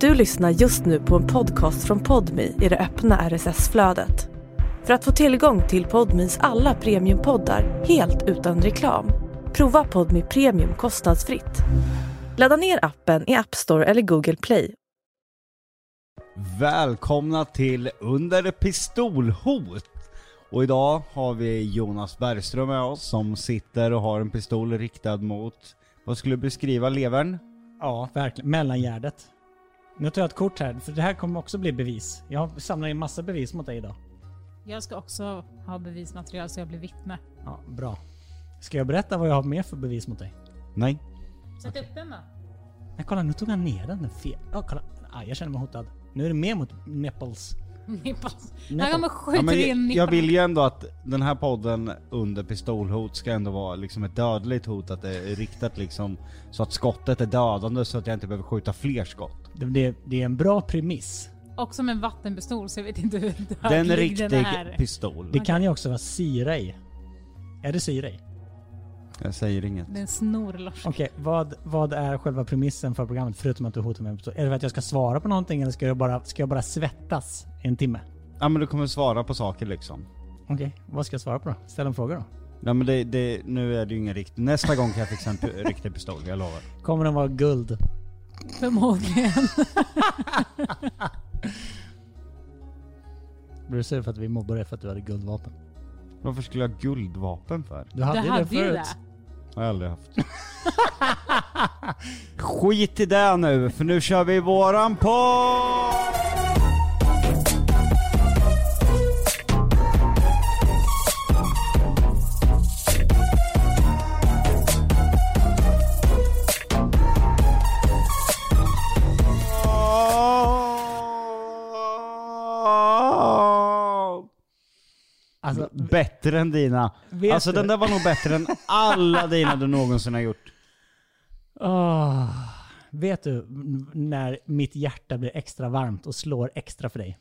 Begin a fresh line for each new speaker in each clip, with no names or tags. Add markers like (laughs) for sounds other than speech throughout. Du lyssnar just nu på en podcast från Podmi i det öppna RSS-flödet. För att få tillgång till Podmis alla premiumpoddar helt utan reklam, prova Podmi Premium kostnadsfritt. Ladda ner appen i App Store eller Google Play.
Välkomna till Under pistolhot! Och idag har vi Jonas Bergström med oss som sitter och har en pistol riktad mot, vad skulle du beskriva levern?
Ja, verkligen. Mellangärdet. Nu tar jag ett kort här, för det här kommer också bli bevis. Jag samlar in massa bevis mot dig idag.
Jag ska också ha bevismaterial så jag blir vittne.
Ja, bra. Ska jag berätta vad jag har mer för bevis mot dig?
Nej.
Sätt upp (laughs) den då.
Nej, kolla nu tog han ner den. den fel. Ja, kolla. Ah, jag känner mig hotad. Nu är det mer mot nipples.
Nipples.
Nipples.
Här kommer
Ja,
skjuter
men
in
jag, jag
nipples.
vill ju ändå att den här podden under pistolhot ska ändå vara liksom ett dödligt hot, att det är riktat liksom så att skottet är dödande så att jag inte behöver skjuta fler skott.
Det, det, det är en bra premiss.
Och som en vattenpistol så jag vet inte hur dödlig
Det är en
den
riktig
är.
pistol.
Det kan ju också vara syra i. Är det syra i?
Jag säger inget.
Det är en snorlars.
Okej, vad, vad är själva premissen för programmet förutom att du hotar mig med pistol? Är det för att jag ska svara på någonting eller ska jag bara, ska jag bara svettas i en timme?
Ja men du kommer svara på saker liksom.
Okej, vad ska jag svara på då? Ställ en fråga då.
Nej men det, det, nu är det ju ingen riktig, nästa gång kan jag fixa en pu- riktig pistol, jag lovar.
Kommer den vara guld?
Förmodligen.
Blir du sur för att vi mobbar dig för att du hade guldvapen?
Varför skulle jag ha guldvapen för?
Du hade,
Du hade ju det.
förut.
har jag aldrig haft. (laughs) Skit i det nu, för nu kör vi våran podd!
Alltså,
Bättre än dina.
Vet
alltså
du?
den där var nog bättre än (laughs) alla dina du någonsin har gjort.
åh, vet du n- när mitt hjärta blir extra varmt och slår extra för dig?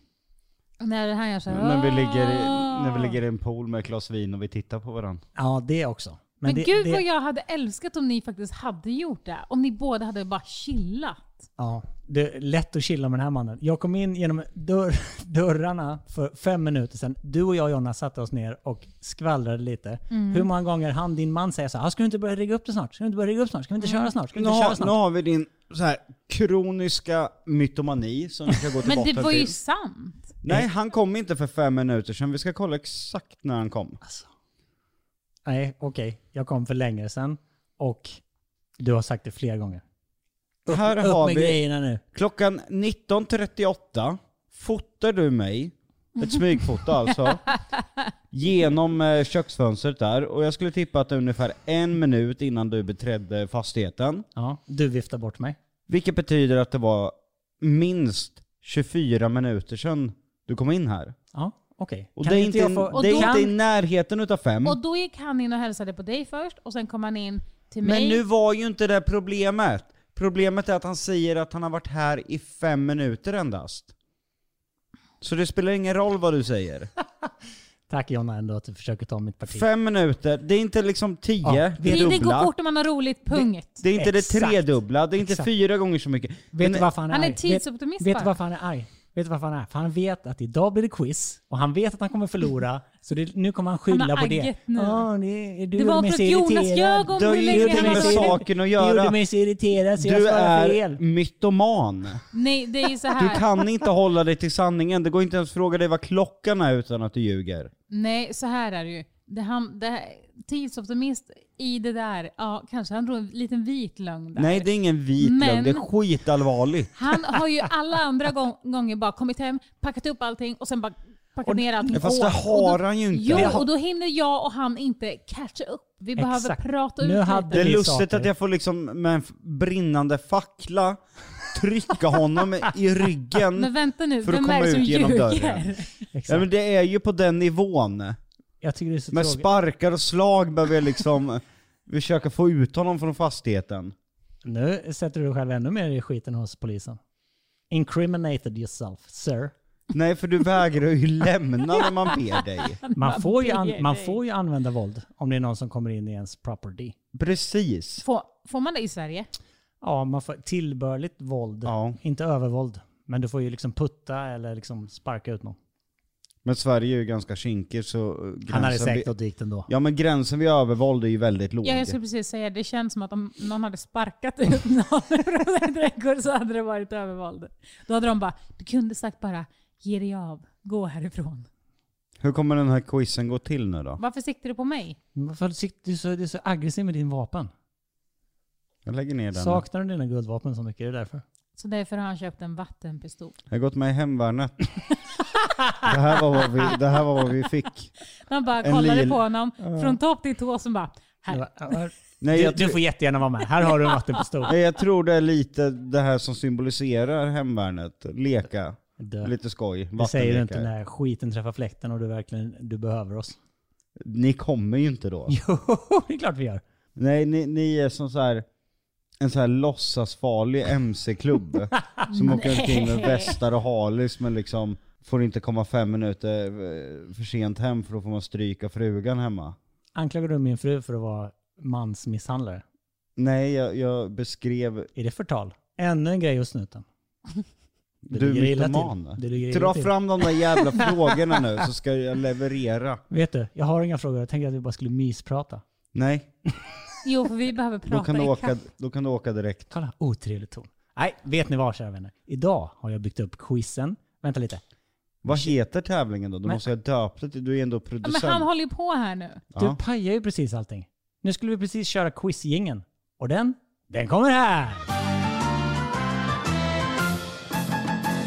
När det här gör såhär...
När vi ligger, i, när vi ligger i en pool med ett glas vin och vi tittar på varandra.
Ja, det också.
Men,
det,
gud
det,
vad jag hade älskat om ni faktiskt hade gjort det. Om ni båda hade bara chillat.
Ja, det är lätt att chilla med den här mannen. Jag kom in genom dörr, (laughs) dörrarna för fem minuter sedan. Du och jag Jonna satte oss ner och skvallrade lite.
Mm.
Hur många gånger han, din man, säger så här, "Ah, ska du inte börja rigga upp det snart? Ska du inte börja rigga upp snart? Ska vi
Mm.
inte köra snart? Ska vi
Nu
inte köra
har, nu
snart?
har vi din så här kroniska mytomani som vi ska
(laughs)
gå till
Men det
botten
var ju
till.
sant.
Nej, han kom inte för fem minuter sedan. Vi ska kolla exakt när han kom.
Nej, okej. Jag kom för länge sedan och du har sagt det flera gånger.
Här
Upp
har
med
vi
grejerna nu.
klockan 19.38. Fotar du mig, ett smygfoto alltså, genom eh, köksfönstret där. Och jag skulle tippa att det är ungefär en minut innan du beträdde fastigheten.
Ja, du viftar bort mig.
Vilket betyder att det var minst 24 minuter sedan du kom in här.
Ja, okej.
Och
Kan
det är inte,
inte jag
i-
få-
Och
det är
då-
inte i närheten utav fem.
Och då gick han in och hälsade på dig först och sen kom han in till mig.
Men nu var ju inte det problemet. Problemet är att han säger att han har varit här i fem minuter endast. Så det spelar ingen roll vad du säger.
Tack Jonna ändå att du försöker ta mitt parti.
Fem minuter, det är inte liksom tio,
Ja,
det är
Tiden går
dubbla.
fort om man har roligt, punkt.
Det är inte det
Exakt.
tredubbla, det är inte
Exakt.
fyra gånger så mycket.
Vet
Men-
du varför han är
Han är
arg?
tidsoptimist
vet, vet
bara.
du varför han är arg? Vet du varför han är För han vet att idag blir det quiz och han vet att han kommer förlora. så det, nu kommer han skylla
Han har
på det.
agget nu.
Ja, det, är du
Det
gjorde
var för
mig
att
så
Jonas
irriterad.
ljög om
Du har
hur
ju
länge
ingenting
han
med
hade roligt.
saken att
Du gjorde
göra.
mig så irriterad så jag
Du
svarade
är
fel.
mytoman.
Nej, det är ju så
Du
här.
kan inte hålla dig till sanningen. Det går inte ens fråga dig vad klockan är utan att du ljuger.
Nej, så här är det ju. Det han, det här, tidsoptimist i det där, ja kanske han drog en liten vit lögn där.
Nej, det är ingen vit
Men-
lögn. Det är skitallvarligt.
Han har ju alla andra gång, gånger bara kommit hem, packat upp allting och sen bara packat ner allting.
Ja, Fast det
åt. Och
har
då-
han ju inte.
Jo, och då hinner jag och han inte catcha upp. Vi behöver
Exakt.
prata ut
Nu
lite.
hade-
Det är
Det är
lustigt
saker.
att jag får liksom med en f- brinnande fackla trycka honom i
(laughs) Men
ryggen.
vänta nu,
För att
vem
komma
är det som
ut genom dörren.
ljuger?
Ja,
Exakt.
men det är ju på den nivån.
Jag tycker det är så
Med
tråkigt.
sparkar och slag behöver jag
(laughs)
liksom försöka få ut honom från fastigheten.
Nu sätter du dig själv ännu mer i skiten hos polisen. Incriminated yourself, sir.
Nej, för du vägrar ju lämna när man ber dig.
Man får, ju an-
ber
man
dig.
får ju använda våld om det är någon som kommer in i ens property.
Precis.
Får, får man det i Sverige?
Ja, man får tillbörligt våld.
Ja.
Inte övervåld. Men du får ju liksom putta eller liksom sparka ut någon.
Men Sverige är ju ganska kinkig så eh, gränsen
Han hade säkert
vid,
gått dit ändå.
Ja men gränsen vid övervåld är ju väldigt låg.
Ja, jag skulle precis säga det. känns som att om någon hade sparkat ut någon (laughs) ur en trädgård så hade det varit övervåld. Då hade de bara, du kunde sagt bara, ge dig av, gå härifrån.
Hur kommer den här quizen gå till nu då?
Varför siktar du på mig?
Varför sikt- du är så, du är så aggressiv med din vapen?
Jag lägger ner den.
Saknar du dina guldvapen så mycket? Är det därför?
Så därför har han köpt en vattenpistol.
Jag har gått med i
(laughs)
Hemvärnet. det, här var vad vi, det här var vad vi fick.
De bara
En
kollade
lil-
på honom från topp till tå som bara, här.
(laughs) Nej,
Du,
jag,
du
tr-
får jättegärna vara med. Här har du en vattenpistol.
nej, jag tror det är lite det här som symboliserar Hemvärnet. Leka. (laughs)
Dö.
Lite skoj.
Det säger du inte
Vattenlekar.
när skiten träffar fläkten och du verkligen du behöver oss.
Ni kommer ju inte då.
(laughs) Jo, det är klart vi gör.
Nej, ni, ni är som så här en så här låtsasfarlig mc-klubb som åker omkring med västar och halis men liksom får inte komma fem minuter eh, för sent hem för då får man stryka frugan hemma.
Anklagar du min fru för att vara mansmisshandlare?
Nej, jag, jag beskrev...
Är det förtal? Ännu en grej
(laughs)
hos snuten. Det
Du
ligger
är
illa
mytoman.
till. Det ligger illa
Dra
till.
fram de där jävla frågorna nu så ska jag leverera.
Vet du, jag har inga frågor. Jag tänkte att vi bara skulle mysprata.
Nej,
Jo, för vi behöver
då
prata
kan, du åka,
ikapp.
då kan du åka direkt.
Kolla, otrevlig ton. Nej, vet ni vad kära vänner? Idag har jag byggt upp quizen. Vänta lite.
Vad heter tävlingen då? Du
Men-
måste ha döpt det. till- Du är ändå
Ja, Men han
producent.
håller ju på här nu.
Du
Ja.
pajar ju precis allting. Nu skulle vi precis köra quizgingen. Och den, den kommer här!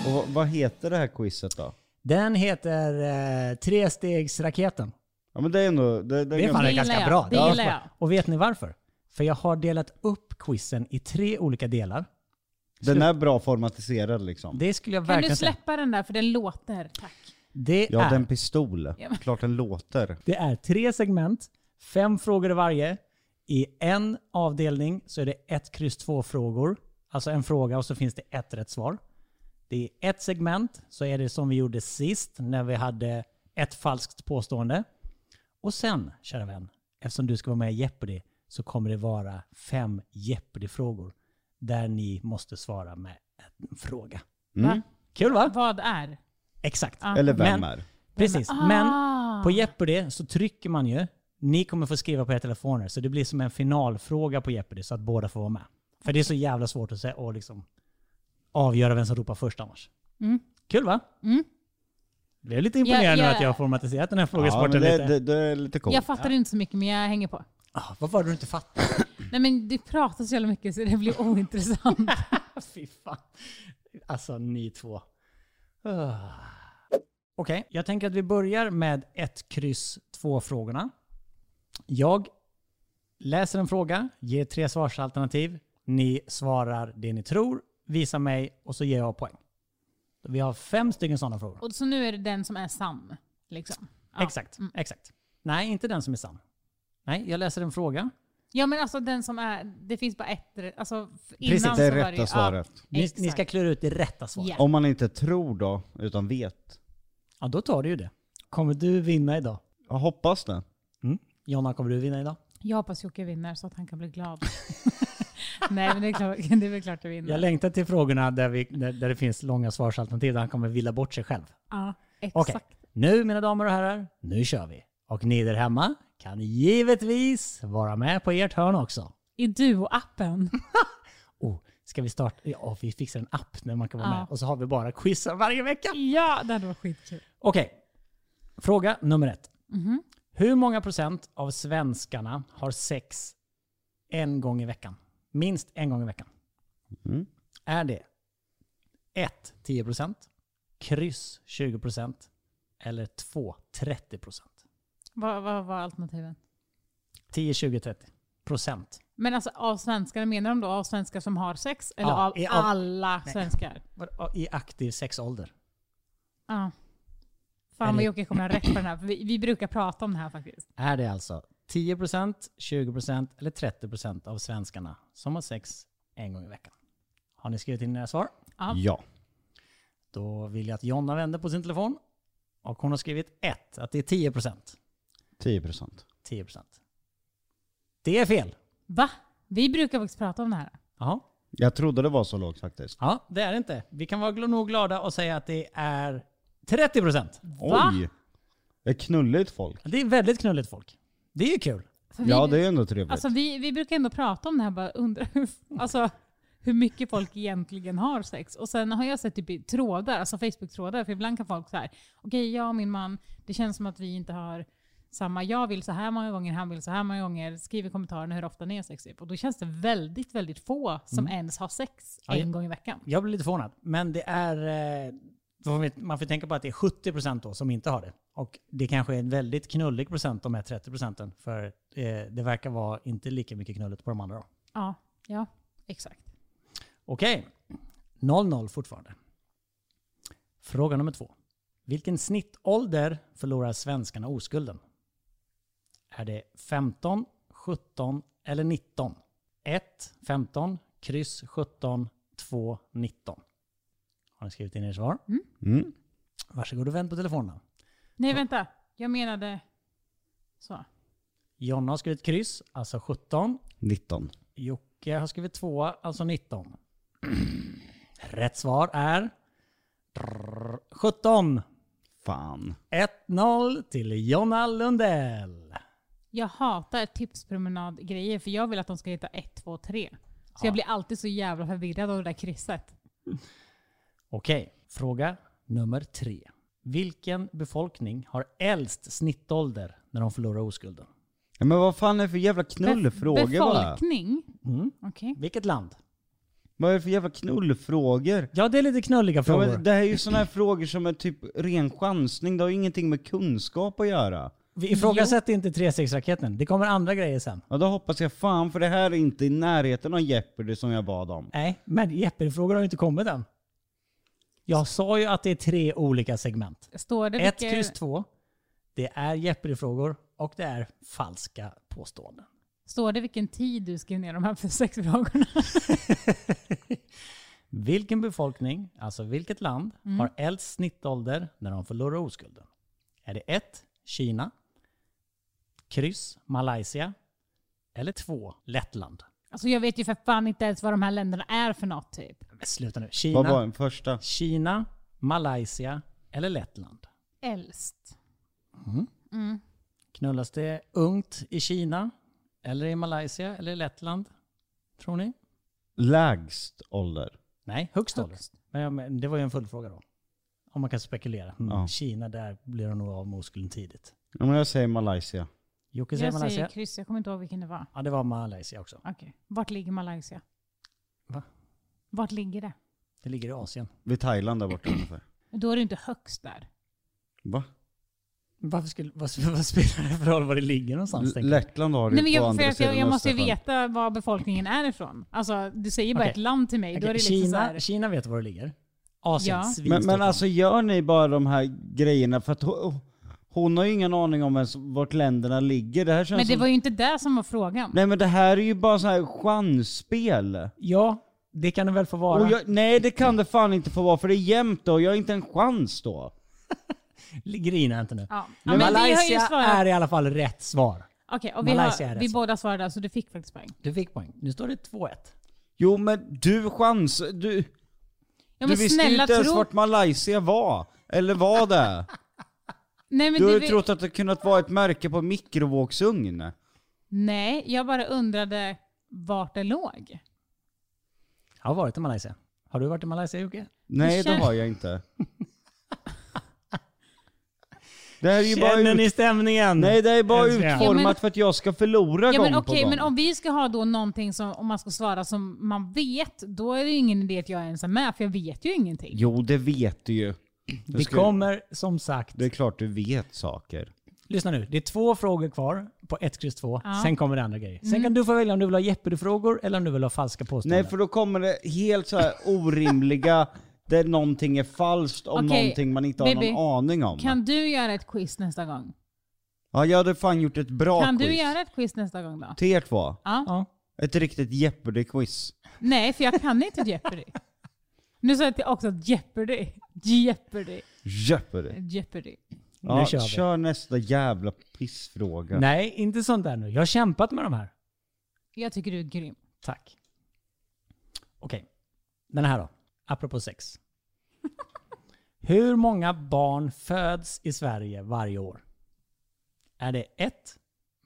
Och vad- vad heter det här quizet då?
Den heter eh, Trestegsraketen.
Ja men det är ändå... Det, det är
Det är fan
ganska...
Det gillar
ganska
jag.
bra.
Det
Ja.
gillar jag.
Och vet ni varför? För jag har delat upp quizen i tre olika delar.
Den är bra formatiserad liksom.
Det skulle jag
Kan
verkligen
du
säga.
släppa den där för den låter? Tack.
Det
Ja,
är,
den pistol. Klart den låter.
det är tre segment, fem frågor i varje. I en avdelning så är det ett kryss två frågor. Alltså en fråga och så finns det ett rätt svar. Det är ett segment, så är det som vi gjorde sist när vi hade ett falskt påstående. Och sen, kära vän, eftersom du ska vara med i Jeopardy så kommer det vara fem Jeopardy-frågor där ni måste svara med en fråga.
Mm.
Kul va?
Vad är?
Exakt.
Ja.
Eller vem
Men-
är?
Precis.
Ah.
Men på Jeopardy så trycker man ju. Ni kommer få skriva på era telefoner. Så det blir som en finalfråga på Jeopardy så att båda får vara med. För det är så jävla svårt att säga och liksom avgöra vem som ropar först annars.
Mm.
Kul va?
Mm.
Jag blev lite imponerad
Ja,
nu
ja.
att jag har formatiserat den här
Ja,
frågesporten
men det,
lite.
det, det är lite coolt.
Jag fattar inte så mycket men jag hänger på.
Ah, vad var det du inte fattade?
Nej men det pratas så jävla mycket så det blir ointressant.
(laughs) Fy fan. Alltså ni två. Ah. Okej, jag tänker att vi börjar med ett kryss två frågorna. Jag läser en fråga, ger tre svarsalternativ. Ni svarar det ni tror, visar mig och så ger jag poäng. Vi har fem stycken sådana frågor.
Och så nu är det den som är sann. Liksom. Ja.
Exakt, exakt. Nej, inte den som är sann. Nej, jag läser en fråga.
Ja men alltså den som är, det finns bara ett rätt- alltså, f- innan
Precis,
så
Det är
var ju-
rätta svaret.
Ja,
Ni, ni ska
exakt.
klura ut det rätta svaret.
Ja.
Om man inte tror då, utan vet.
Ja, då tar du ju det. Kommer du vinna idag?
Jag hoppas det.
Jonna, kommer du vinna idag?
Jag hoppas Jocke vinner så att han kan bli glad. (laughs) Nej men det är, klart, det är väl klart jag vinner.
Jag längtar till frågorna där, vi, där, där det finns långa svarsalternativ där han kommer villa bort sig själv.
ja, exakt.
Okej, nu mina damer och herrar, nu kör vi. Och ni där hemma kan givetvis vara med på ert hörn också.
I Duo-appen. (laughs)
Oh, ska vi starta? Ja, vi fixar en app när man kan vara
Ja.
med. Och så har vi bara quizar varje vecka.
ja det hade varit skitkul.
Okej, fråga nummer ett.
Mhm.
Hur många procent av svenskarna har sex en gång i veckan? Minst en gång i veckan.
Mm.
Är det 1. 10 procent, kryss 20 procent eller 2. 30 procent?
Vad vad var alternativen?
10, 20, 30 procent.
Men alltså av svenskar, menar de då av svenskar som har sex? Eller
Ja,
av
i av-
alla
Nej.
svenskar?
Vad- I aktiv sexålder.
Ja. Fan
Eller-
vad Jocke kommer ha rätt på den här, för vi, vi brukar prata om det här faktiskt.
Är det alltså 10 procent, 20 procent eller 30 procent av svenskarna som har sex en gång i veckan? Har ni skrivit in era svar?
Ja.
Ja.
Då vill jag att Jonna vänder på sin telefon. Och hon har skrivit 1, att det är 10 procent.
10%.
10 procent. Det är fel.
Va? Vi brukar faktiskt prata om det här.
Jaha.
Jag trodde det var så lågt faktiskt.
Ja, det är det inte. Vi kan vara gl- nog glada och säga att det är 30%.
Va?
Oj! Det är knulligt folk.
Det är väldigt knulligt folk. Det är ju kul.
För Alltså, vi,
Ja det är ändå trevligt.
alltså, vi, vi brukar ändå prata om det här, bara undra hur,
Mm.
alltså, hur mycket folk egentligen har sex. Och sen har jag sett typ i trådar, alltså Facebook-trådar, för ibland kan folk så här, okej jag och min man, det känns som att vi inte har samma, jag vill så här många gånger, han vill så här många gånger, skriv i kommentarerna hur ofta ni har sex. Typ. Och då känns det väldigt, väldigt få som ens har sex
Mm. Ja, ja.
en gång i veckan.
Jag blir lite förvånad. Men det är... eh, då får vi- Man får tänka på att det är 70% då som inte har det. Och det kanske är en väldigt knullig procent de här 30% för eh, det verkar vara inte lika mycket knulligt på de andra då.
Ja, ja exakt.
Okej. 0-0 fortfarande. Fråga nummer två. Vilken snittålder förlorar svenskarna oskulden? Är det 15, 17 eller 19? 1, 15, kryss 17, 2, 19. Har ni skrivit in er svar?
Mm.
Varsågod och vänd på telefonerna.
Nej vänta, jag menade så.
Jonna har skrivit kryss, alltså 17.
19.
Jocke har skrivit 2, alltså 19. (clears throat) Rätt svar är 17.
Fan.
1-0 till Jonna Lundell.
Jag hatar tipspromenadgrejer för jag vill att de ska heta 1, 2, 3. Så jag blir alltid så jävla förvirrad av det där krysset.
Okej, fråga nummer tre. Vilken befolkning har äldst snittålder när de förlorar oskulden?
Ja, men vad fan är det för jävla
Bef-
knullfrågor va?
Befolkning?
Mm.
Okej.
Vilket land?
Vad är det för jävla knullfrågor?
Ja, det är lite knulliga
Ja,
frågor.
men det här är ju sådana här frågor som är typ ren chansning, det har ju ingenting med kunskap att göra.
Vi ifrågasätter inte 3-6-raketen. Det kommer andra grejer sen.
Ja då hoppas jag fan för det här är inte i närheten av Jeopardy som jag bad om.
Nej, men Jeopardy-frågor har ju inte kommit än. Jag sa ju att det är tre olika segment.
Står det
Ett,
vilka-
kryss två. Det är Jeopardy-frågor och det är falska påståenden.
Står det vilken tid du skrev ner de här (laughs) för sex frågorna?
Vilken befolkning, alltså vilket land,
Mm.
har äldst snittålder när de förlorar oskulden? Är det 1. Kina, kryss Malaysia eller 2. Lettland?
Alltså jag vet ju för fan inte ens vad de här länderna är för något typ.
Men sluta nu.
Vad var
Kina,
den första?
Kina, Malaysia eller Lettland?
Äldst.
Knullas det ungt i Kina eller i Malaysia eller i Lettland? Tror ni?
Lägst ålder.
Nej, högst ålder.
Högst.
Men, ja, men det var ju en följdfråga då. Om man kan spekulera. Mm.
Ja.
Kina, där blir de nog av med oskulden tidigt.
Ja, men jag säger Malaysia.
Jocke säger
Jag
Malaysia.
säger kryss, jag kommer inte ihåg vilken det var.
Ja, det var Malaysia också.
Okej. Vart ligger Malaysia?
Va?
Vart ligger det?
Det ligger i Asien.
Vid Thailand där borta ungefär.
Då är det inte högst där.
Va?
Varför skulle, vad, (laughs) vad spelar det för roll var det ligger någonstans?
L-
tänker jag?
Lettland har det
Nej,
ju
men
på andra
jag, för att jag,
sidan
jag måste ju
Östersjön.
veta var befolkningen är ifrån. Alltså, du säger bara
Okej.
ett land till mig. Då är det
Okej,
liksom så
Kina,
här,
Kina vet var det ligger. Asien,
Ja.
svinstort
Men, men
land.
alltså gör ni bara de här grejerna för att hon, hon har ju ingen aning om ens vart länderna ligger. Det här känns
Men det
som...
var ju inte det som var frågan.
Nej men det här är ju bara så här chansspel.
Ja, det kan det väl få vara.
Och jag, nej det kan det fan inte få vara för det är jämnt då, jag har inte en chans då.
Grina inte nu.
Ja.
Men
Ja, men vi har ju
Malaysia är
svarat.
i alla fall rätt svar.
Okej, och vi,
Malaysia är
har,
rätt
vi
svar.
båda svarade så du fick faktiskt poäng.
Du fick poäng. Nu står det 2-1.
Jo men du chans... Du,
Ja,
du
men
visste ju
snälla
inte ens
tro...
vart Malaysia var. Eller var det?
Nej, (laughs) men
Du har
det
ju
vi-
trott att det kunnat vara ett märke på en mikrovågsugn.
Nej, jag bara undrade vart det låg.
Jag har varit i Malaysia. Har du varit i Malaysia Jocke?
Nej det
Känn-
har jag inte. Det här är ju bara
Känner
ut...
ni stämningen?
Nej det är bara
Älskar jag.
utformat
Ja, men-
för att jag ska förlora
Ja,
gång
men
på
okej,
gång.
men om vi ska ha då någonting som, om man ska svara som man vet, då är det ju ingen idé att jag ens är med, för jag vet ju ingenting.
Jo det vet du ju. Jag
Vi
ska-
kommer som sagt...
Det är klart du vet saker.
Lyssna nu, det är två frågor kvar på 1, kryss 2.
Ja.
Sen kommer det andra grejer. Sen kan du få välja om du vill ha Jeopardy-frågor eller om du vill ha falska påståenden.
Nej för då kommer det helt så här orimliga, (laughs) där någonting är falskt om
Okej,
någonting man inte har
baby,
någon aning om.
Kan du göra ett quiz nästa gång?
Ja jag hade fan gjort ett bra
Kan
quiz.
du göra ett quiz nästa gång då?
Till er två.
Ja.
Ja.
Ett riktigt Jeopardy-quiz.
Nej, för jag kan inte Jeopardy. Nu sa jag till- också Jeopardy. Jeopardy.
Jeopardy.
Jeopardy.
Ja,
Nu kör vi.
Kör nästa jävla pissfråga.
Nej, inte sånt där nu. Jag har kämpat med de här.
Jag tycker du är grym.
Tack. Okej, den här då.
(laughs)
Apropå sex. Hur många barn föds i Sverige varje år? Är det 1.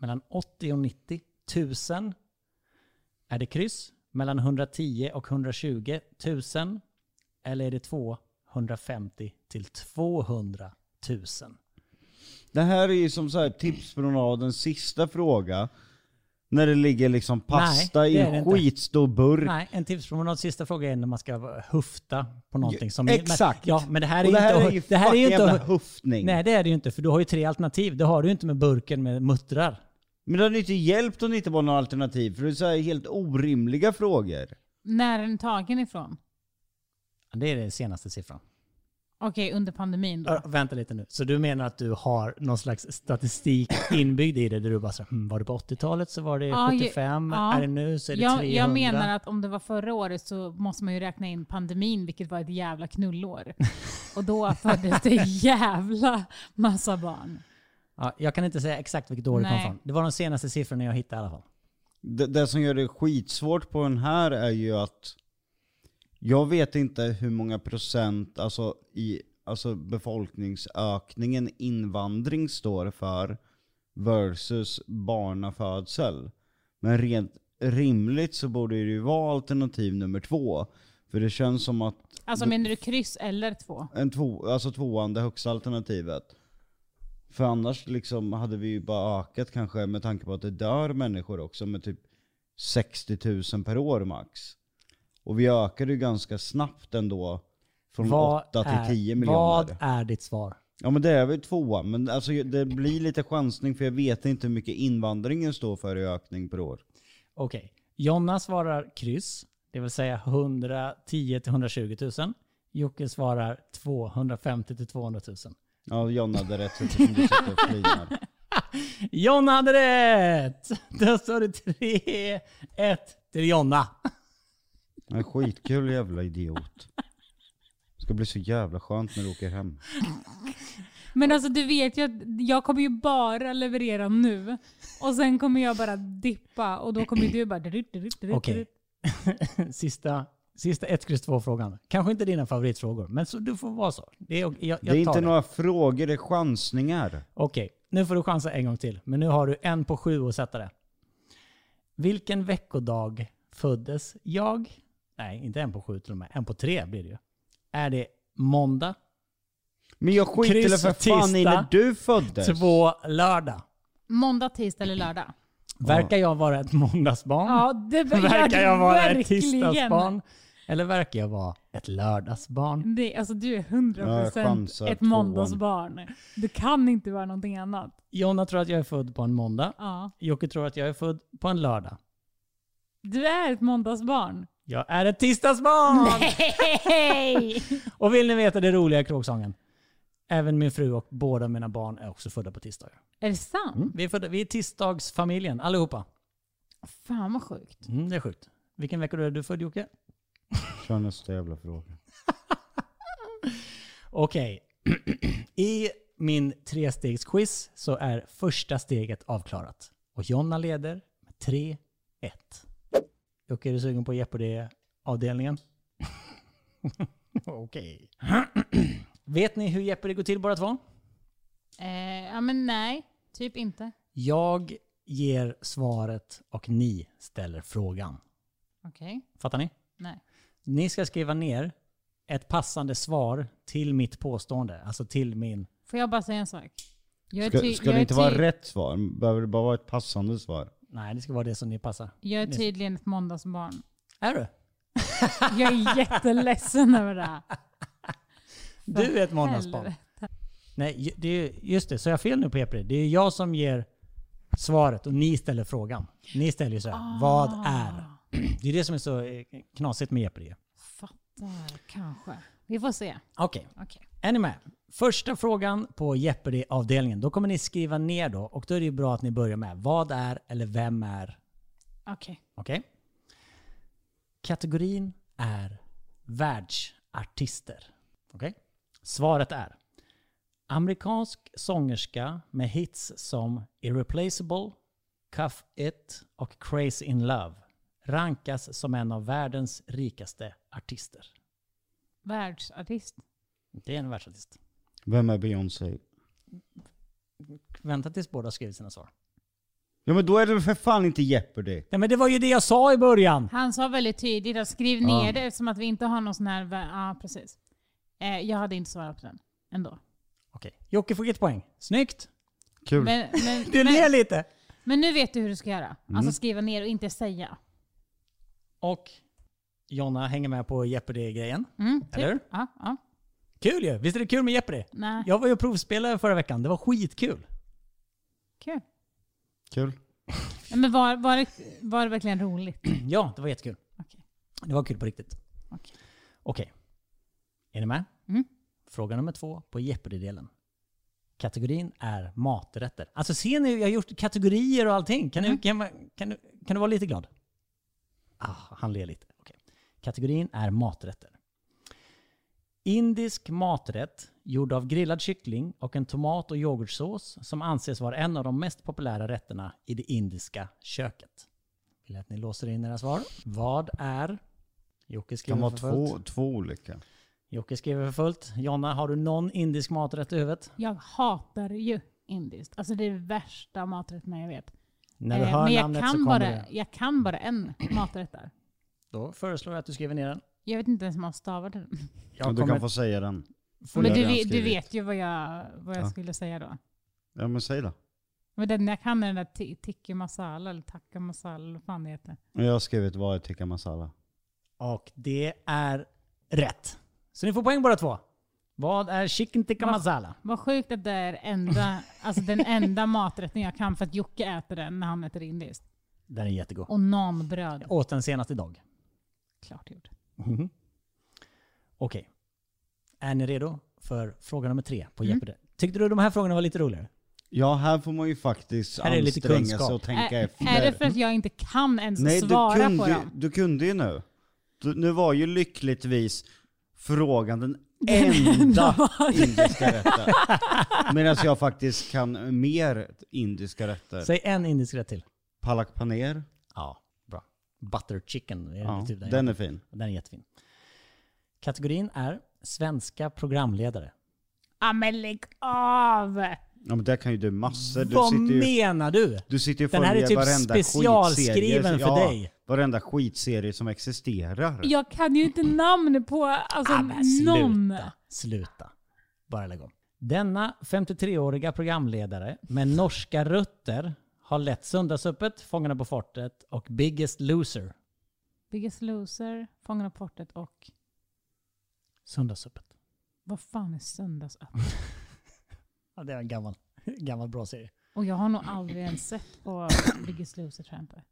Mellan 80 och 90 tusen? Är det kryss? Mellan 110 och 120 tusen? Eller är det 2. 150 till 200 tusen?
Det här är ju som så här tipspromenadens sista fråga. När det ligger liksom pasta
Nej, det
i
är det
en
inte.
skitstor burk.
Nej, en tipspromenad sista fråga är när man ska hufta på någonting. Som
Exakt.
Men, ja, men det här är
Och
ju
det här är
inte... att
ju
hu- det här är ju
fucking
inte att
jävla
hu-
huftning.
Nej, det är det ju inte. För du har ju tre alternativ. Det har du ju inte med burken med muttrar.
Men det hade ju inte hjälpt om det inte var några alternativ, för det är så här helt orimliga frågor.
När är den tagen ifrån?
Det är den senaste siffran.
Okej, under pandemin då.
Ö, vänta lite nu. Så du menar att du har någon slags statistik inbyggd i det där du bara så, här, hmm, var det på 80-talet så var det
Ja, ju-
75,
ja.
är det nu så är det
Jag,
300.
jag menar att om det var förra året så måste man ju räkna in pandemin, vilket var ett jävla knullår. Och då föddes det
(laughs)
jävla massa barn.
ja, jag kan inte säga exakt vilket år det kom
Nej.
från. Det var de senaste siffrorna jag hittade i alla fall.
Det, det som gör det skitsvårt på den här är ju att jag vet inte hur många procent alltså, i alltså befolkningsökningen invandring står för versus barnafödsel. Men rent rimligt så borde det ju vara alternativ nummer två. För det känns som att
Alltså
Mm.
menar du kryss eller två?
en två, alltså tvåan, det högsta alternativet. För annars liksom hade vi ju bara ökat kanske med tanke på att det dör människor också med typ 60 000 per år max. Och vi ökade ju ganska snabbt ändå från
Vad
8
är-
till 10
Vad
miljoner.
är ditt svar?
Ja men det är väl tvåan, men alltså det blir lite chansning för jag vet inte hur mycket invandringen står för i ökning per år.
Okej. Jonna svarar kryss, det vill säga 110 till 120 000. Jocke svarar 250 till 200 000.
Ja Jonna hade rätt eftersom du sitter och
(laughs)
flinar.
Jonna hade rätt! Då står det 3-1 till Jonna.
Men skitkul jävla idiot. Det ska bli så jävla skönt när du åker hem.
Men alltså du vet ju att jag kommer ju bara leverera nu. Och sen kommer jag bara dippa och då kommer ju
(clears throat)
du bara...
Okej. (laughs) Sista, sista 1, kryss 2 frågan. Kanske inte dina favoritfrågor, men så, du får vara så. Det är, ok- jag,
Det är
jag tar
inte
det.
några frågor, det är chansningar.
Okej, nu får du chansa en gång till. Men nu har du en på sju att sätta det. Vilken veckodag föddes jag? Nej, inte en på sju till och med. En på tre blir det ju. Är det måndag,
Men jag skiter
Kryss
för fan i
tisdag.
när du föddes.
två, lördag?
Måndag, tisdag eller lördag?
Verkar jag vara ett måndagsbarn?
Ja, (laughs) det
verkar jag vara ett
verkligen.
tisdagsbarn? Eller verkar jag vara ett lördagsbarn?
Det, alltså du är
Jag
100%
chansar
ett
tvåan.
måndagsbarn. Du kan inte vara någonting annat.
Jonna tror att jag är född på en måndag.
Ja.
Jocke tror att jag är född på en lördag.
Du är ett måndagsbarn.
Jag är ett tisdagsbarn!
(laughs) Hej!
Och vill ni veta det roliga i kråksången? Även min fru och båda mina barn är också födda på tisdagar.
är det sant?
Mm.
Vi, är födda, vi är tisdagsfamiljen allihopa.
Fan vad sjukt.
Mm, det är sjukt. Vilken vecka är du född Jocke?
Kör nästa jävla fråga.
Okej. (clears throat) I min trestegsquiz så är första steget avklarat. Och Jonna leder med 3-1. Jocke, är du sugen på Jeopardy-avdelningen? (laughs) Okej. (clears throat) Vet ni hur Jeopardy går till båda två?
Eh, ja men nej, typ inte.
Jag ger svaret och ni ställer frågan.
Okej,
Fattar ni?
nej.
Ni ska skriva ner ett passande svar till mitt påstående. Alltså till min...
Får jag bara säga en sak? Jag är
Ska,
ty-
ska
jag
det
är
inte vara
ty-
rätt svar? Behöver det bara vara ett passande svar?
Nej, det ska vara det som ni passar.
Jag är tydligen ett måndagsbarn.
Är du?
Jag är jätteledsen över det här.
Du är ett måndagsbarn.
Helvete.
Nej, ju- det är, just det. Så jag har fel nu på Epre. Det är jag som ger svaret och ni ställer frågan. Ni ställer ju så här. Vad är? (clears throat) Det är det som är så eh, knasigt med Epre.
Fattar, kanske. Vi får se.
Okej.
Okej.
Är ni med? Första frågan på Jeopardy-avdelningen. Då kommer ni skriva ner då. Och då är det ju bra att ni börjar med vad är eller vem är.
Okej.
Okej? Kategorin är världsartister. Okej? Svaret är amerikansk sångerska med hits som Irreplaceable, Cuff It och Crazy In Love rankas som en av världens rikaste artister.
Världsartist.
Det är en världsartist.
Vem är Beyoncé?
Vänta tills båda har skrivit sina svar.
Ja men då är det väl för fan inte Jeopardy?
Nej men det var ju det jag sa i början!
Han sa väldigt tydligt att skriv
Ja.
ner det eftersom att vi inte har någon sån här... vä- Ja, precis. Eh, jag hade inte svarat på den ändå.
Okej, Jocke får ett poäng. Snyggt!
Kul.
(laughs)
Men, men,
Du ler
men,
lite!
men nu vet du hur du ska göra.
Mm.
Alltså skriva ner och inte säga.
Och Jonna hänger med på Jeopardy-grejen.
Mm, typ.
Eller?
Ja, ja.
Kul ju! Visst är det kul med Jeopardy?
Nej,
Jag var ju provspelare förra veckan, det var skitkul.
kul.
Kul.
Nej, Men var, var, det, var det verkligen roligt?
Ja, det var jättekul.
Okej.
Det var kul på riktigt.
Okej.
Okej. Är ni med?
Mm.
Fråga nummer två på Jeopardy-delen. Kategorin är maträtter. Alltså ser ni, jag har gjort kategorier och allting. Kan, du, kan, man- kan, du, kan du vara lite glad? Ah, han ler lite. Okej. Kategorin är maträtter. Indisk maträtt gjord av grillad kyckling och en tomat och yoghurtsås som anses vara en av de mest populära rätterna i det indiska köket. Vill att ni låser in era svar. Vad är... Jocke
Det kan
skriver
vara
för fullt.
två, två olika.
Jocke skriver för fullt. Jonna, har du någon indisk maträtt i huvudet?
Jag hatar ju indiskt. Alltså det är värsta maträtterna jag vet.
När du
Eh,
hör
men jag
namnet så
kan,
kommer
bara,
det.
jag kan bara en maträtt där.
Då föreslår jag att du skriver ner den.
Jag vet inte ens hur man stavar till den.
Jag
du
kommer-
kan få säga den.
Får
Men
jag
du,
redan
vet- du
skrivit.
vet ju vad jag, vad jag
Ja.
skulle säga då.
Ja men säg då.
Men den jag kan är den där ti- tikka masala eller takka masala eller vad fan det heter.
Jag har skrivit vad är tikka masala.
Och det är rätt. Så ni får poäng båda två. Vad är chicken tikka
Vad-
masala?
Vad sjukt att det är enda, alltså den enda maträtten jag kan för att Jocke äter den när han äter indiskt.
Den är jättegod.
Och naanbröd.
Jag åt den senast idag.
Klart gjort.
Mhm. Okej. Är ni redo för fråga nummer tre
Mm.
på Jeopardy? Tyckte du de här frågorna var lite roligare?
Ja här får man ju faktiskt
Här är lite
anstränga
kunskap.
sig och tänka
är,
efter.
är det för att jag inte kan ens
Nej,
Alltså, svara
du kunde,
på dem?
Du kunde ju nu. Du, nu var ju lyckligtvis frågan
(laughs)
den enda indiska rätten. Medan jag faktiskt kan mer indiska rätter.
Säg en indisk rätt till.
Palak paneer.
Ja, bra. Butter chicken. Är
Ja,
det typ den
den är fin.
Den är jättefin. Kategorin är svenska programledare.
Ja Ah, men lägg av!
Ja men där kan ju du massor. Du
Vad
sitter ju,
menar du?
du sitter ju och
Den här är
följer
typ
varenda
specialskriven
skitserie-
för dig.
Varenda skitserie som existerar.
Jag kan ju inte namn på alltså,
Ah, men
någon.
sluta, sluta. Bara lägg om. Denna 53-åriga programledare med norska rötter har lett Söndagsöppet, Fångarna på fortet och Biggest Loser.
Biggest Loser, Fångarna på fortet och
Söndagsöppet.
vad fan är söndagsöppet?
Ja, det är en gammal, (laughs) gammal bra serie.
Och jag har nog aldrig ens sett på Biggest Loser tror jag inte.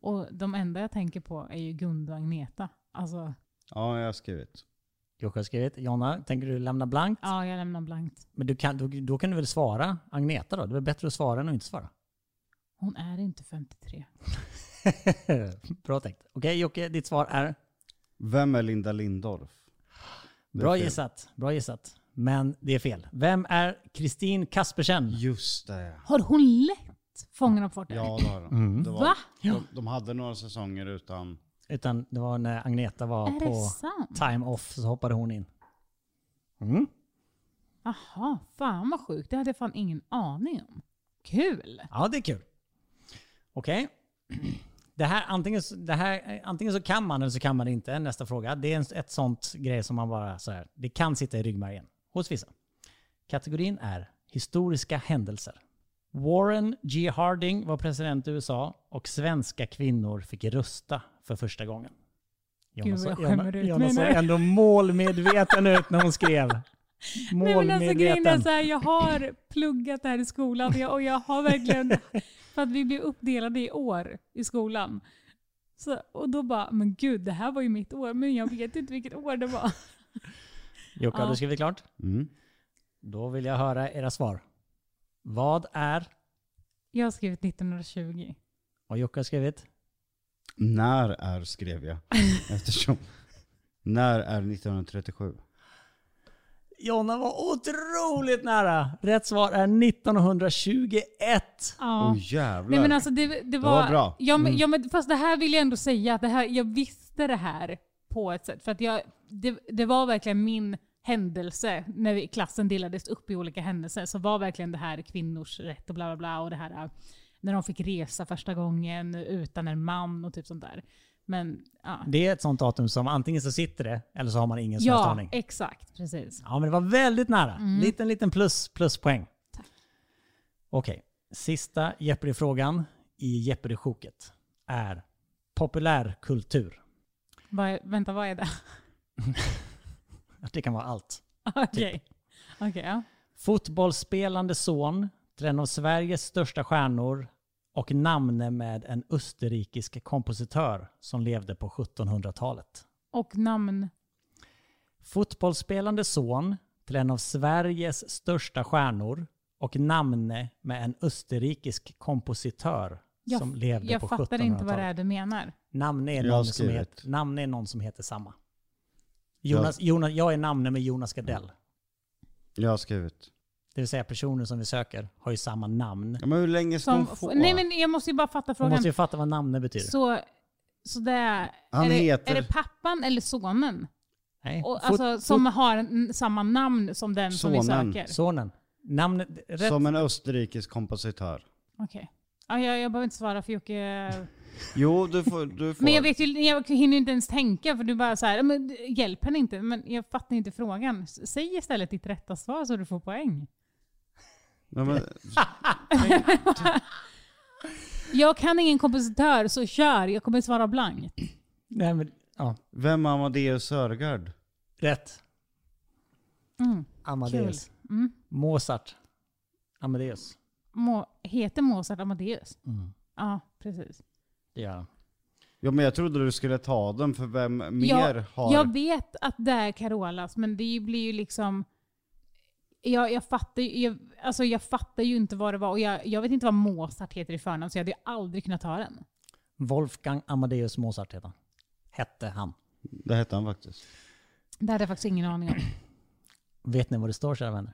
Och de enda jag tänker på är ju Gunde och Agneta. Alltså,
Ja, jag har skrivit.
Jocke har skrivit. Jonna, tänker du lämna blankt?
ja jag lämnar blankt.
Men du kan, då, då kan du väl svara Agneta då? Det är väl bättre att svara än att inte svara? (laughs)
Hon är inte 53.
Bra tänkt. Okej Jocke, ditt svar är?
Vem är Linda Lindorff? Det är
Bra
fel.
gissat. Bra gissat. Men det är fel. Vem är Kristin Kaspersen?
Just det.
Har hon lätt Fångarna på fortet?
Ja, det har de.
Mm.
Det var,
Va?
de, de hade några säsonger utan...
Utan det var när Agneta var
Är det
på
sant?
time off så hoppade hon in. Mm.
Jaha, fan vad sjukt. Det hade jag fan ingen aning om. Kul!
Ja, det är kul. Okej. Det här, antingen, så- det här, antingen så kan man eller så kan man inte. Nästa fråga. Det är en, ett sånt grej som man bara så här. Det kan sitta i ryggmärgen hos vissa. Kategorin är historiska händelser. Warren G. Harding var president i USA och svenska kvinnor fick rösta för första gången.
Gud,
såg-
jag skämmer
Jonna-
ut
Jonna
mig
såg
nu.
(laughs) ändå målmedveten ut när hon skrev.
(laughs) Nej, men alltså, grejen är
Målmedveten.
så här, jag har pluggat det här i skolan och jag, och jag har (laughs) verkligen, för att vi blev uppdelade i år i skolan. Så, och då bara, men gud det här var ju mitt år, men jag vet inte vilket år det var.
Jocke, har
Ja.
du skrivit klart?
Mm.
Då vill jag höra era svar. Vad är,
Jag har skrivit 1920.
vad Jocke har skrivit,
När är
(laughs)
skrev jag. Eftersom... När är 1937?
Jonna var otroligt nära. Rätt svar är 1921.
Ja.
Åh jävlar.
Nej men alltså det, det, var,
var bra.
Ja,
Mm.
men, ja, men, fast det här vill jag ändå säga, att det här, jag visste det här på ett sätt. För att jag, det, det var verkligen min händelse, när vi, klassen delades upp i olika händelser, så var verkligen det här kvinnors rätt och bla bla bla. Och det här, äh, när de fick resa första gången utan en man och typ sånt där. Men ja,
Det är ett sånt datum som antingen så sitter det eller så har man ingen som helst
ja
aning.
exakt, precis.
Ja, men det var väldigt nära. Liten, liten plus, pluspoäng.
Tack.
Okej, sista Jeopardy-frågan i Jeopardy-sjoket är populärkultur.
Vad, vänta, vad är det? (laughs)
Det kan vara allt.
Okej.
Typ.
Okej, ja.
Fotbollsspelande son till en av Sveriges största stjärnor och namne med en österrikisk kompositör som levde på 1700-talet.
Och namn.
Fotbollsspelande son till en av Sveriges största stjärnor och namne med en österrikisk kompositör
Jag,
som levde på
jag
1700-talet.
fattar inte vad det är du menar.
Namne är,
Jag har
någon som
skrivit.
heter, namne är någon som heter samma. Jonas, Jonas, jag är namne med Jonas Gardell.
Jag har skrivit.
Det vill säga personer som vi söker har ju samma namn.
Ja, men hur länge ska
Som,
hon få?
nej men jag måste ju bara fatta
Man
frågan.
måste ju fatta vad namne betyder.
Så, så det är,
Han
är, det,
heter-
är det pappan eller sonen?
Nej.
Och,
Fot-
alltså, som har en, samma namn som den som
Sonen.
vi söker?
Sonen. Namnet, rätt.
Som en österrikisk kompositör.
Okej. Ja, jag, jag behöver inte svara
(laughs)
för Jocke.
Jo, du får. Du får.
(laughs) Men jag, vet ju, jag hinner inte ens tänka för du bara så här, men hjälp henne inte. Men jag fattar inte frågan. S- Säg istället ditt rätta svar så du får poäng.
Ja, men,
Jag kan ingen kompositör så kör, jag kommer svara blankt.
Nej, men, ja,
vem är Amadeus Sörgard?
rätt.
Mm.
Amadeus.
Kul. Mm.
Mozart. Amadeus.
Må, heter Mozart Amadeus?
Mm.
Ja, precis.
Det gör han.
Ja, men jag trodde du skulle ta den, för vem mer
jag,
har...
jag vet att det är Carolas, men det blir ju liksom... Jag, jag, fattar, ju- jag, alltså jag fattar ju inte vad det var, och jag, jag vet inte vad Mozart heter i förnamn, så jag hade ju aldrig kunnat ta den.
Wolfgang Amadeus Mozart heter han. Hette han.
Det hette han faktiskt.
Det hade jag faktiskt ingen aning
(clears throat)
om.
Vet ni vad det står kära vänner?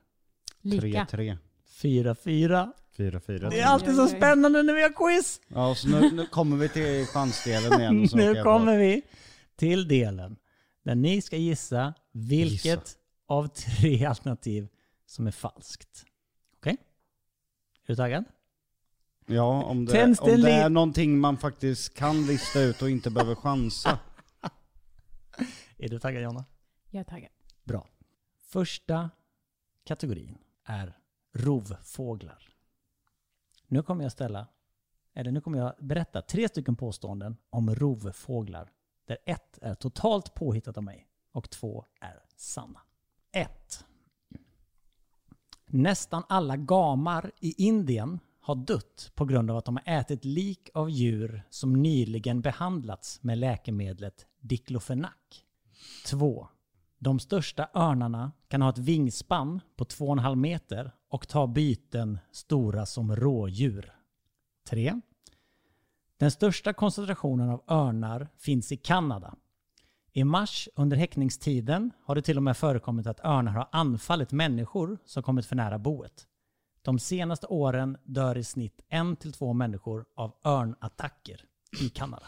Lika.
3-3.
4-4.
4-4.
Det är alltid så spännande när vi har quiz!
Ja, så nu, nu kommer vi till chansdelen
(laughs)
igen. och
(laughs)
så åker
Nu
jag
kommer vi till delen där ni ska gissa vilket
Gissa.
av tre (laughs) alternativ som är falskt. Okej? Är du taggad?
på. Ja, om det,
Tänds
om
det en
det
li-
är någonting man faktiskt kan lista ut och inte behöver chansa.
Är du taggad Jonna?
Jag är taggad.
Bra. Första kategorin är rovfåglar. Nu kommer jag ställa, eller nu kommer jag berätta tre stycken påståenden om rovfåglar. Där ett är totalt påhittat av mig och två är sanna. 1. Nästan alla gamar i Indien har dött på grund av att de har ätit lik av djur som nyligen behandlats med läkemedlet diklofenac. 2. De största örnarna kan ha ett vingspann på 2,5 meter och ta byten stora som rådjur. 3. Den största koncentrationen av örnar finns i Kanada. I mars under häckningstiden har det till och med förekommit att örnar har anfallit människor som kommit för nära boet. De senaste åren dör i snitt en till två människor av örnattacker i Kanada.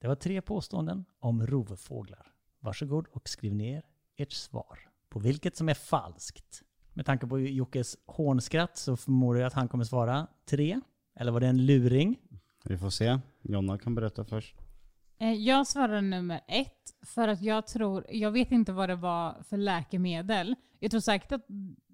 Det var tre påståenden om rovfåglar. Varsågod och skriv ner ert svar på vilket som är falskt. Med tanke på Jockes hånskratt så förmodar jag att han kommer svara tre. Eller var det en luring?
Vi får se. Jonna kan berätta först.
Eh, Jag svarar nummer ett, för att jag tror, jag vet inte vad det var för läkemedel. Jag tror säkert att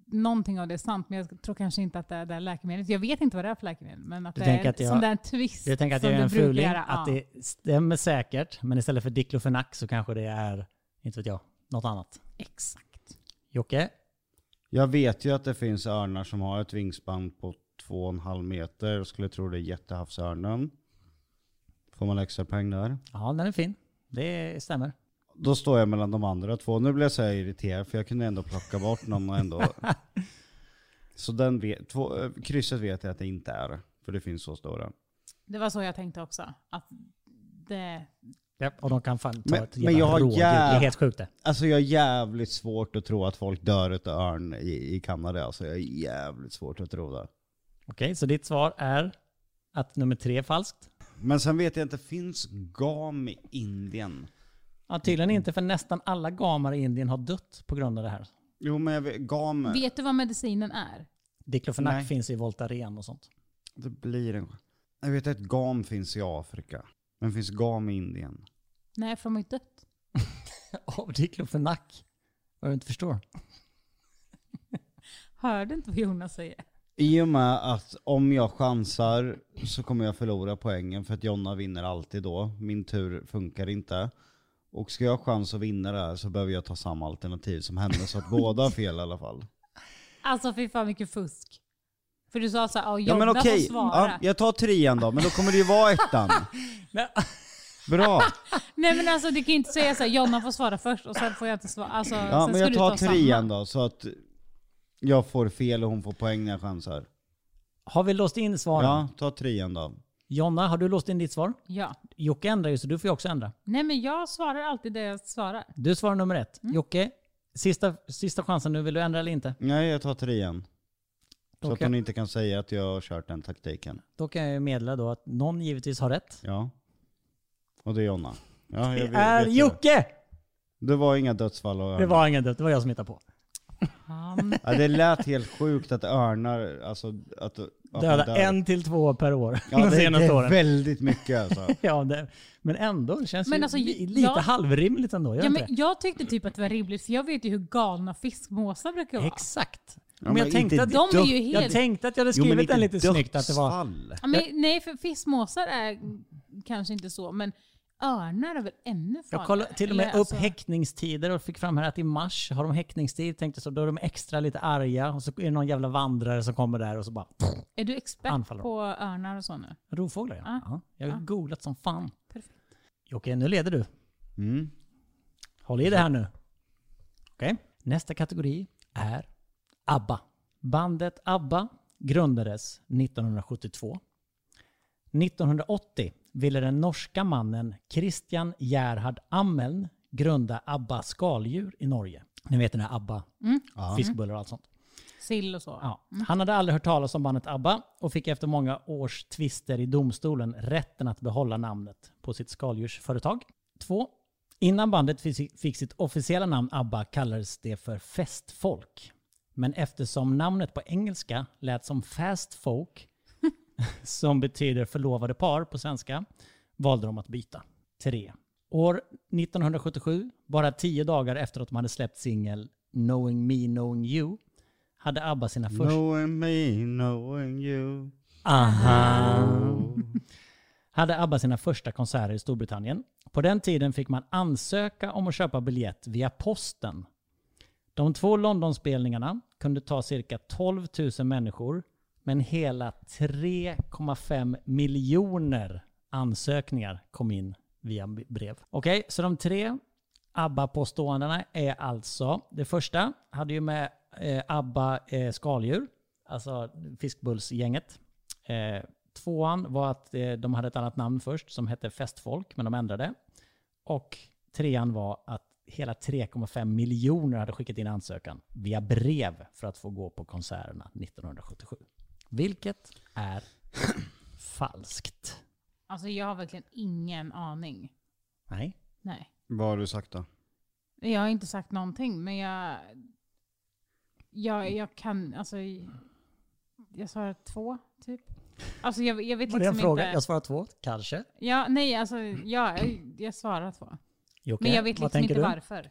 någonting av det är sant, men jag tror kanske inte att det är det här läkemedlet. Jag vet inte vad det är för läkemedel, men att
Du
det är
tänker
en
att jag-
sån där twist
Jag tänker att
som
jag är
du
en
brukar
fuling.
göra.
Att
Ja.
det stämmer säkert. Men istället för diklofenac så kanske det är, inte vet jag, något annat.
Exakt.
Jocke?
Jag vet ju att det finns örnar som har ett vingspann på 2,5 meter. Jag skulle tro det är jättehavsörnen. Får man extra poäng där?
Ja, den är fin. Det stämmer.
Då står jag mellan de andra två. Nu blev jag så här irriterad för jag kunde ändå plocka bort någon och ändå...
(laughs)
Så den vet, två, eh, krysset vet jag att det inte är. För det finns så stora.
Det var så jag tänkte också. Att det,
Japp.
Och de kan fan ta
Men-
ett
men
jävla
jag har
rådjur. Det är
jäv-
helt sjukt det.
Alltså jag har jävligt svårt att tro att folk dör utav örn i, i Kanada. Alltså jag har jävligt svårt att tro det.
Okej, så ditt svar är att nummer tre är falskt?
Men sen vet jag inte, finns gam i Indien?
Ja, tydligen inte, för nästan alla gamar i Indien har dött på grund av det här.
Jo men jag vet, gam,
Vet du vad medicinen är?
Diklofenak
Nej.
finns i Voltaren och sånt.
det blir en... Jag vet att gam finns i Afrika. Men finns gam i Indien?
Nej, för de har ju dött.
Av diklofenak? Vad du inte förstår.
Hörde inte vad Jonas säger?
I och med att om jag chansar så kommer jag förlora poängen för att Jonna vinner alltid då. Min tur funkar inte. Och ska jag ha chans att vinna det här så behöver jag ta samma alternativ som henne så att båda har fel i alla fall.
Alltså fy fan vilket fusk. För du sa såhär,
Ja
ja Jonna
men okej,
får svara.
ja, jag tar trean då, men då kommer det ju vara
(laughs)
ettan.
Nej. (laughs)
Bra.
Nej men alltså du kan ju inte säga såhär, Jonna får svara först och sen får jag inte svara. Alltså,
Ja,
sen
men
ska
jag
du
tar
ta samma.
trean då så att jag får fel och hon får poäng när jag chansar.
Har vi låst in svaren?
Ja, ta trean då.
Jonna, har du låst in ditt svar?
Ja.
Jocke ändrar ju, så du får ju också ändra.
Nej men jag svarar alltid det jag svarar.
Du svarar nummer ett. Jocke, sista, sista chansen nu. Vill du ändra eller inte?
Nej, jag tar trean. Så
Då
att hon
kan,
inte kan säga att jag har kört den taktiken.
då kan jag ju meddela då att någon givetvis har rätt.
Ja. Och det är Jonna. Ja,
Det
jag vet,
är
vet det.
Jocke!
Det var inga dödsfall av
Det
örnar.
var ingen död, det var jag som hittade på.
Han,
Ja, det lät helt sjukt att örnar, alltså att... att man dör.
Döda en till två per år
ja,
(laughs) de
det, det
senaste
är
åren.
väldigt mycket
(laughs)
alltså.
Ja, det, men ändå. Det känns
Men
ju
alltså,
li,
jag-
lite halvrimligt ändå. Gör
ja,
inte
men
det?
jag tyckte typ att det var rimligt för jag vet ju hur galna fiskmåsar brukar vara.
Exakt.
Ja,
men jag, tänkte
inte
att,
De är ju
jag
helt...
tänkte att jag hade
Jo, men
skrivit
inte
den lite snyggt. Att det var,
dödsfall.
Ja, men, nej för fiskmåsar är kanske inte så men örnar är väl ännu farligare?
jag kollade till och med
Eller,
upp
alltså-
häckningstider och fick fram här att i mars har de häckningstid. Tänkte så, då är de extra lite arga och så är det någon jävla vandrare som kommer där och så bara
Är du expert
Anfaller
på örnar och så nu?
rovfåglar. Ja.
Ah.
Ja, jag har
Ah.
googlat som fan.
Perfekt.
Jocke, nu leder du.
Mm.
Håll i det här nu. Okej. Nästa kategori är ABBA. Bandet ABBA grundades 1972. 1980 ville den norska mannen Christian Gerhard Ammeln grunda ABBA skaldjur i Norge. Ni vet den här ABBA,
Ja.
fiskbullar och allt sånt.
Sill och så?
Ja. Han hade aldrig hört talas om bandet ABBA och fick efter många års tvister i domstolen rätten att behålla namnet på sitt skaldjursföretag. 2. Innan bandet fi- fick sitt officiella namn ABBA kallades det för Festfolk. Men eftersom namnet på engelska lät som Fast Folk, som betyder förlovade par på svenska, valde de att byta. 3. År 1977, bara tio dagar efter att de hade släppt singel Knowing Me Knowing You, hade ABBA sina första...
Knowing me, knowing you.
Aha. (laughs) Hade ABBA sina första konserter i Storbritannien. På den tiden fick man ansöka om att köpa biljett via posten. De två Londonspelningarna kunde ta cirka 12 000 människor, men hela 3,5 miljoner ansökningar kom in via brev. Okej, så de tre ABBA-påståendena är alltså, det första hade ju med eh, ABBA eh, skaldjur, alltså fiskbullsgänget. Eh, tvåan var att eh, de hade ett annat namn först som hette Festfolk, men de ändrade. Och trean var att hela 3,5 miljoner hade skickat in ansökan via brev för att få gå på konserterna 1977. Vilket är (clears throat) falskt.
Alltså jag har verkligen ingen aning.
Nej.
Nej.
Vad har du sagt då?
Jag har inte sagt någonting men jag... Jag, jag kan, alltså... Jag svarar två, typ. Alltså jag, jag vet
Var det en
liksom
fråga?
inte...
Jag svarar två, kanske.
Ja, nej alltså ja, jag, jag svarar två.
Jocke,
Men jag vet
vad
liksom
tänker
inte
du?
varför.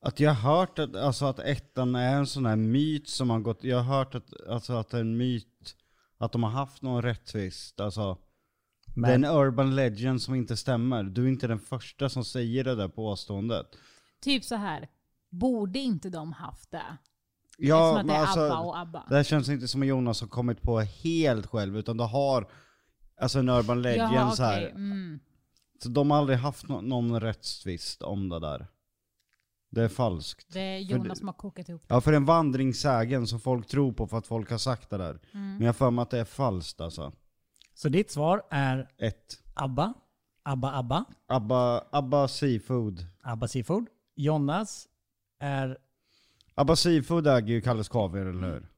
Att jag har hört att, alltså att ettan är en sån här myt som har gått, jag har hört att, alltså att det är en myt, att de har haft någon rättvist, alltså
Men-
det är en urban legend som inte stämmer. Du är inte den första som säger det där påståendet.
Typ så här. Borde inte de haft det?
Ja, men
Eftersom Liksom att det är
alltså,
ABBA och ABBA.
det här känns inte som att Jonas har kommit på helt själv, utan du har alltså en urban legend
Jaha,
så här.
okej, mm.
Så de har aldrig haft nå- någon rättstvist om det där. Det är falskt.
Det är
För
Jonas
det-
som har kokat ihop.
Ja, för en vandringssägen som folk tror på för att folk har sagt det där.
Mm.
Men jag har för mig att det är falskt alltså.
Så ditt svar är
Ett.
ABBA. Abba Abba,
Abba, Abba Seafood.
Abba Seafood. Jonas är...
Abba Seafood äger ju Kalles Kaviar, eller hur?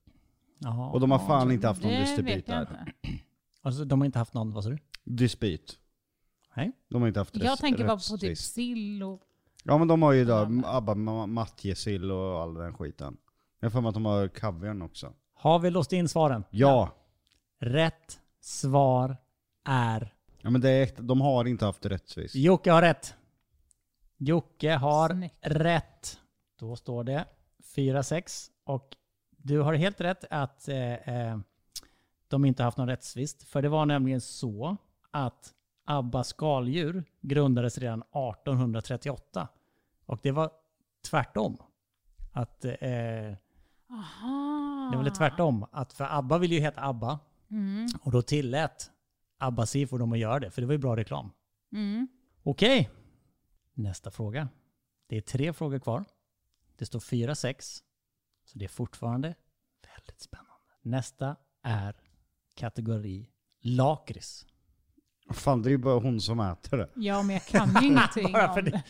Jaha.
Och de har fan inte haft någon
Det
dispyt
vet jag
där.
inte.
Alltså, de har inte haft någon, vad sa du?
Dispyt.
Nej.
De har inte haft
Jag
rätts-
tänker bara på typ
rättstvist.
sill och...
Ja men de har ju där Abba, Ma- Mattjesill och all den skiten. Jag har för mig att de har kaviarn också.
Har vi låst in svaren?
Ja!
Rätt svar är...
Ja men det är, äkta- de har inte haft rättsvis.
Jocke har rätt. Jocke har
Snyggt.
rätt. Då står det 4-6. Och du har helt rätt att eh, eh, de inte haft någon rättstvist. För det var nämligen så att Abba skaldjur grundades redan 1838. Och det var tvärtom. Att, eh, det
Aha.
var väl tvärtom. Att för Abba ville ju heta Abba.
Mm.
Och då tillät Abba Sifo dem att göra det. För det var ju bra reklam.
Mm.
Okej. Nästa fråga. Det är tre frågor kvar. Det står 4-6. Så det är fortfarande väldigt spännande. Nästa är kategori lakrits.
Fan det är ju bara hon som äter det. (laughs)
Ja, men jag kan ju ingenting
Bara för
om det.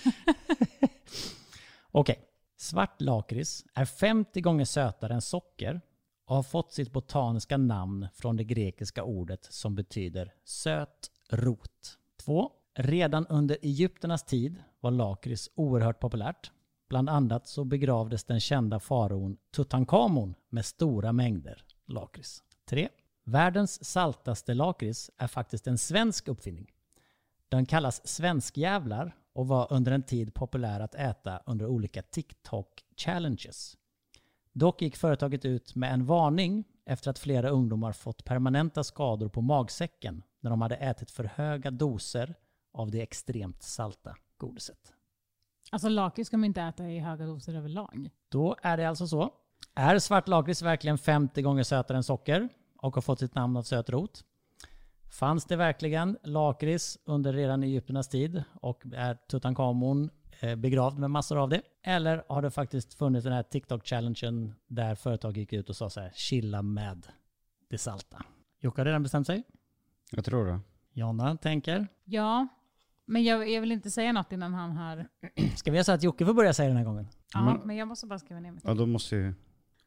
(laughs) Okej. Svart lakrits är 50 gånger sötare än socker och har fått sitt botaniska namn från det grekiska ordet som betyder söt rot. 2. Redan under Egypternas tid var lakrits oerhört populärt. Bland annat så begravdes den kända faraon Tutankhamon med stora mängder lakrits. 3. Världens saltaste lakrits är faktiskt en svensk uppfinning. Den kallas svenskjävlar och var under en tid populär att äta under olika TikTok-challenges. Dock gick företaget ut med en varning efter att flera ungdomar fått permanenta skador på magsäcken när de hade ätit för höga doser av det extremt salta godiset.
Alltså lakrits ska man inte äta i höga doser överlag.
Då är det alltså så. Är svart lakrits verkligen 50 gånger sötare än socker och har fått sitt namn av söt rot? Fanns det verkligen lakrits under redan Egypternas tid och är Tutankhamon eh, begravd med massor av det? Eller har det faktiskt funnits den här TikTok-challengen där företag gick ut och sa så här, chilla med det salta. Jocke har redan bestämt sig.
Jag tror det.
Jonna tänker.
Ja, men jag, jag vill inte säga något innan han har...
Ska vi göra så att Jocke får börja säga den här gången?
Ja,
Men-
men, jag måste bara skriva ner mitt.
Ja då måste ju...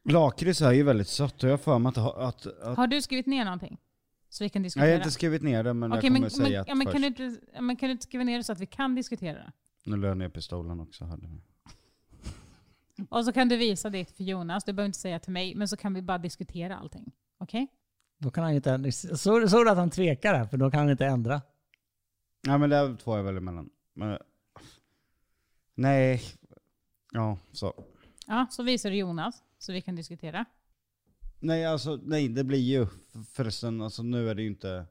Lakrits är ju väldigt sött och jag har för mig att... att, att...
Har du skrivit ner någonting? Så vi kan
Nej,
diskutera.
jag har inte skrivit ner det men
Okej,
jag kommer
men,
säga
men,
att
ja, men,
först.
kan du inte, ja, men kan du inte skriva ner det så att vi kan diskutera det?
Nu la jag ner pistolen också. Hade vi.
Och så kan du visa det för Jonas. Du behöver inte säga till mig, men så kan vi bara diskutera allting. Okej?
Då kan han ju inte... Så, så är det att han tvekar här, för då kan han inte ändra.
Nej men det är två jag väljer mellan. Men... Nej. Ja, så.
Ja, så visar du Jonas så vi kan diskutera.
Nej alltså, nej det blir ju förresten, alltså nu är det ju inte...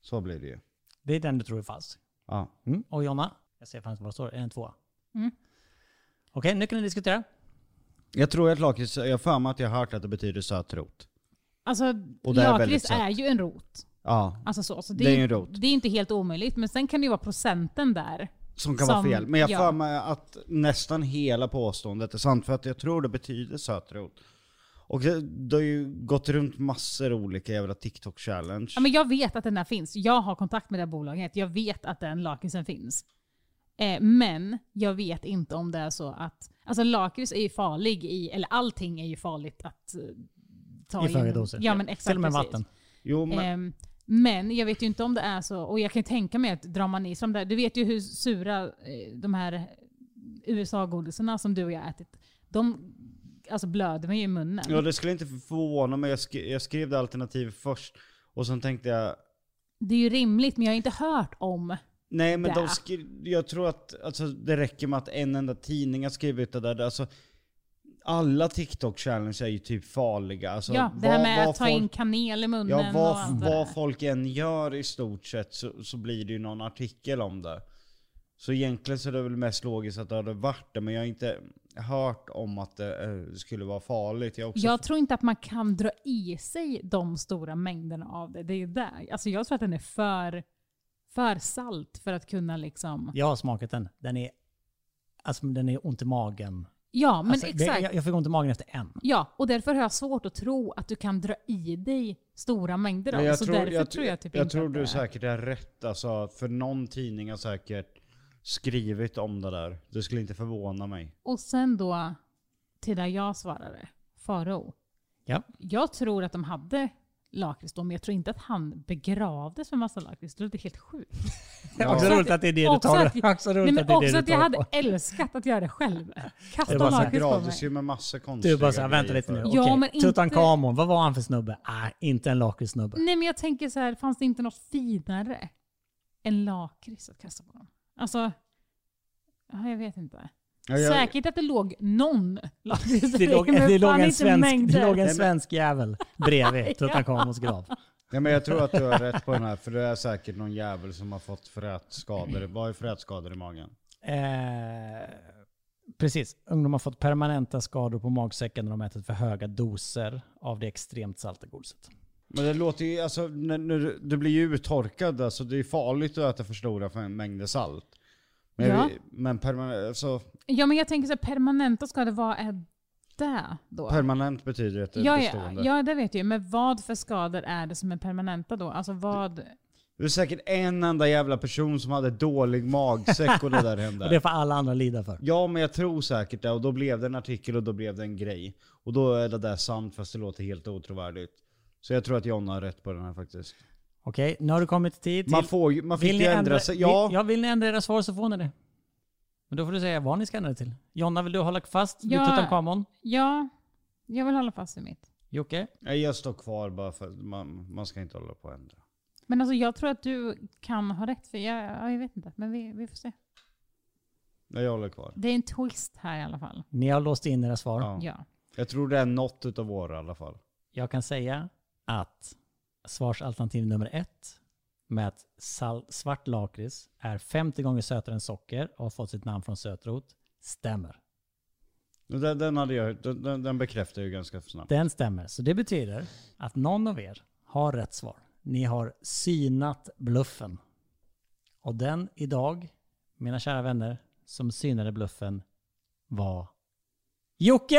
Så blir det ju.
Det är den du tror är falsk.
Ja.
Mm. Och Jonna? Jag ser framför vad det står. Är det en tvåa?
Mm.
Okej, nu kan ni diskutera.
Jag tror att lakrits, jag har för mig att jag har hört att det betyder söt rot.
Alltså,
det är väldigt
lakrits
sött.
är ju en rot.
Ja,
Alltså så, så
Det är ju en rot.
Det är inte helt omöjligt, men sen kan det ju vara procenten där.
som kan vara
Som-
fel. Men jag har
ja.
för mig att nästan hela påståendet är sant för att jag tror det betyder söt rot. Och det, det har ju gått runt massor olika jävla TikTok-challenge.
Ja, men jag vet att den där finns. Jag har kontakt med det här bolaget. Jag vet att den lakritsen finns. Eh, men jag vet inte om det är så att... Alltså lakrits är ju farlig i... Eller allting är ju farligt att eh, ta
I för höga
in.
doser.
Ja, men exakt.
Till och med
precis.
vatten.
Jo men,
Ehm, men jag vet ju inte om det är så, och jag kan ju tänka mig att drar man i sig de där, du vet ju hur sura eh, de här USA-godisarna som du och jag har ätit, de alltså, blöder mig i munnen.
ja, det skulle inte förvåna mig. Jag, sk jag skrev det alternativet först. Och sen tänkte jag,
Det är ju rimligt, men jag har inte hört om.
Nej men de
Där.
skri- jag tror att alltså, det räcker med att en enda tidning har skrivit det där. Alltså, alla TikTok-challenge är ju typ farliga. Alltså,
ja, det här
vad-
med
vad
att ta in kanel i munnen
Ja,
och
vad,
allt det
vad
där.
folk än gör i stort sett så, så blir det ju någon artikel om det. Så egentligen så är det väl mest logiskt att det hade varit det, men jag har inte hört om att det eh, skulle vara farligt. Jag har också
Jag tror inte att man kan dra i sig de stora mängderna av det. Det är ju där. Alltså jag tror att den är för, för salt för att kunna liksom...
Jag har smakat den. Den är... Alltså den är ont i magen.
Ja, men
Alltså, det,
exakt.
jag, jag fick ont i magen efter
(laughs)
en.
Ja, och därför har jag svårt att tro att du kan dra i dig stora mängder av det. Så därför tror jag typ
jag
inte
tror
att
du
det är-
säkert är rätt alltså, för någon tidning har säkert skrivit om det där. Det skulle inte förvåna mig.
Och sen då till där jag svarade, Faro.
Ja.
Jag tror att de hade lakrits då, men jag tror inte att han begravdes med massa lakrits. Det låter helt sjukt.
Ja.
Också roligt att det är det du
Också
tar
att-
Också
Nej,
roligt
men
att det är
också
det du
att jag
tar
hade
på.
älskat att göra det själv. Kasta
Det var så här,
Det
lakrits på mig.
gravdes ju med massa konstiga
Du bara såhär, vänta
grejer
lite nu.
för.
Ja,
Okej,
men inte-
Tutankhamon, vad var han för snubbe? Ah, inte en
(laughs)
lakritssnubbe.
Nej men jag tänker så här, fanns det inte något finare än lakrits att kasta på dem? Alltså, ja, jag vet inte.
Ja, jag-
Säkert att det låg någon lakrits
(laughs) Det
i,
låg,
men
det låg
fan
en
inte
svensk,
mängder.
det låg
Nej,
en
men-
svensk jävel
(laughs)
bredvid Tutankhamons grav.
Ja, men jag tror att du har rätt på den här, för det är säkert någon jävel som har fått frätskador. Vad är frätskador i magen?
Eh, precis. Ungdomar har fått permanenta skador på magsäcken när de ätit för höga doser av det extremt salta godiset.
Men det låter ju, alltså, när, när du, du blir ju uttorkad, alltså, det är farligt att äta för stora för en mängd salt. Men,
Ja.
men permanent, alltså,
Ja men jag tänker så här, permanenta skador, vad är det då?
permanent betyder att det är
ja, ja,
bestående.
ja, det vet jag ju. Men vad för skador är det som är permanenta då? Alltså vad...
Det är säkert en enda jävla person som hade dålig magsäck och det där hände.
(laughs) Och det får alla andra lida för.
Ja men jag tror säkert det och då blev det en artikel och då blev det en grej. Och då är det där sant fast det låter helt otrovärdigt. Så jag tror att Jonna har rätt på den här faktiskt.
Okej, nu har du kommit tid till...
Man, får ju, man fick
vill
ju
ni
ändra,
ändra
sig.
vill-
Ja,
ja, vill ni ändra era svar så får ni det. Men då får du säga vad ni ska ändra det till. Jonna, vill du hålla fast vid
Ja.
Tutankhamon?
Ja, jag vill hålla fast vid mitt.
Jocke?
Nej, jag står kvar bara för att man, man ska inte hålla på och ändra.
Men alltså jag tror att du kan ha rätt, för jag, ja, jag vet inte. Men vi, vi får se.
Nej, jag håller kvar.
Det är en twist här i alla fall.
Ni har låst in era svar.
Ja.
Ja.
Jag tror det är något utav våra i alla fall.
Jag kan säga att svarsalternativ nummer ett med att sal- svart lakrits är 50 gånger sötare än socker och har fått sitt namn från sötrot stämmer.
Men Den, den, hade jag, den, den- den bekräftar ju ganska snabbt.
Den stämmer. Så det betyder att någon av er har rätt svar. Ni har synat bluffen. Och den idag, mina kära vänner, som synade bluffen var Jocke!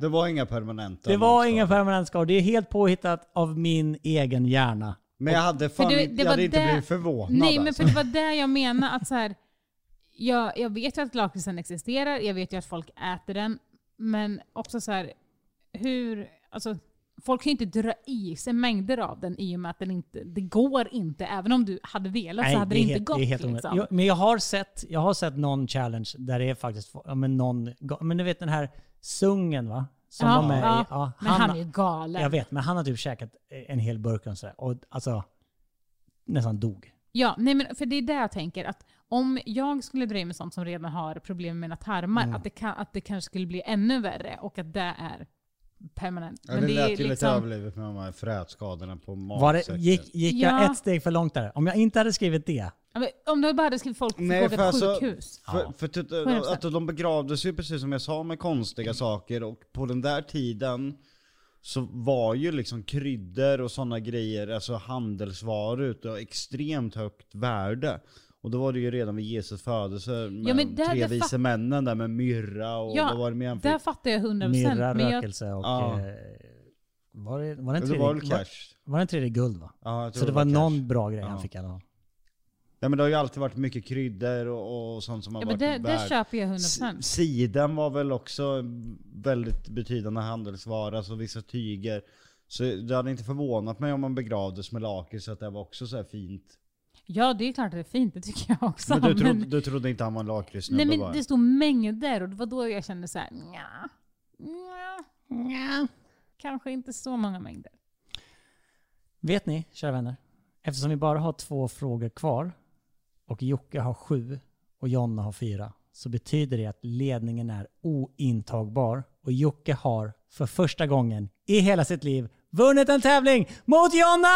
Det var inga permanenta.
Det var
motstånd.
ingen permanent skada. Det är helt påhittat av min egen hjärna.
Men jag hade fan
du, det
inte- jag
var
hade inte
det-
blivit förvånad
Nej, men
alltså.
för det var det jag menar att så här, jag, jag vet ju att lakritsen existerar, jag vet ju att folk äter den, men också så här, hur, alltså, folk kan ju inte dra i sig mängder av den i och med att den inte, det går inte. Även om du hade velat så hade det,
är
inte
helt-
gått.
är helt omöjligt.
liksom.
jag, Men jag har, sett, jag har sett någon challenge där det är faktiskt ja, men någon... ga- Men du vet den här Sungen va? Som
ja,
var med
ja,
i... Ja,
men han,
har-
är ju galen.
Jag vet, men han har typ käkat en hel burk och sådär. Och alltså, nästan dog.
Ja, nej men för det är det jag tänker. Att om jag skulle dra i mig sånt som redan har problem med mina tarmar,
Mm.
att, det kan, att det kanske skulle bli ännu värre och att det är permanent.
Ja, det, lät ju
liksom-
lite överdrivet med de här frätskadorna på
Var
magsäcken.
det, gick gick jag
Ja.
ett steg för långt där? Om jag inte hade skrivit det.
Ja, men Om du bara hade skrivit folk fick
Nej,
åka
för
till
alltså-
sjukhus.
För,
Ja.
för typ,
100%.
att de begravdes ju precis som jag sa med konstiga saker och på den där tiden så var ju liksom kryddor och sådana grejer, alltså handelsvaror utav extremt högt värde. Och då var det ju redan vid Jesus födelse med
Ja, men
de
där-
tre
där fa-
vise männen där med myrra och
Ja,
vad var det mer han fick?
Där fattar jag 100%.
Myrra,
men jag,
rökelse och...
Ja.
Eh, var det, var det en
Eller
tredje,
var det cash?
var, var det en tredje guld va?
Ja, jag tror
Så det var
cash.
någon bra grej han
Ja.
fick i alla fall.
Ja men det har ju alltid varit mycket kryddor och, och sånt som har
ja, men
varit
det,
värt.
det köper jag 100%.
S- Siden var väl också en väldigt betydande handelsvara, så vissa tyger. Så det hade inte förvånat mig om man begravdes med lakrits, så att det var också så här fint.
Ja, det är klart att det är fint. Det tycker jag också.
Men du trodde,
men-
du trodde inte han var en
nej,
lakritssnubbe
men
bara?
det stod mängder och det var då jag kände så här, nja, nja, nja. Kanske inte så många mängder.
Vet ni, kära vänner, eftersom vi bara har två frågor kvar och Jocke har sju och Jonna har fyra så betyder det att ledningen är ointagbar och Jocke har för första gången i hela sitt liv vunnit en tävling mot Jonna!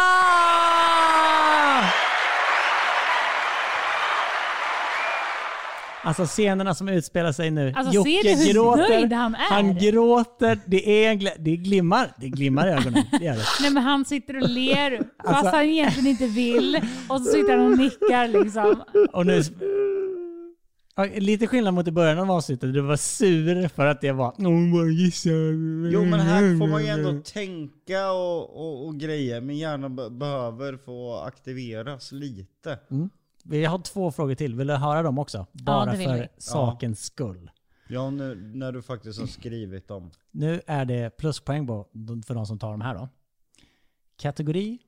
Alltså scenerna som utspelar sig nu.
Alltså,
Jocke
ser du hur
gråter.
nöjd han är?
Han gråter. Det, är en gla- det glimmar. Det glimmar i ögonen. Det gör det.
Nej men han sitter
(laughs)
och ler
Alltså-
fast han egentligen inte vill. Och så sitter han och nickar liksom.
Och nu... Ja, Lite skillnad mot i början av avsnittet. Du var sur för att jag var... "Åh, bara gissa."
Jo men här får man ju ändå tänka och, och, och grejer. Min hjärna be- behöver få aktiveras lite.
Vi har två frågor till. Vill du höra dem också?
det
Bara
vill vi.
för sakens skull.
Ja nu när du faktiskt har skrivit dem.
Nu är det pluspoäng på, för de som tar de här då. Kategori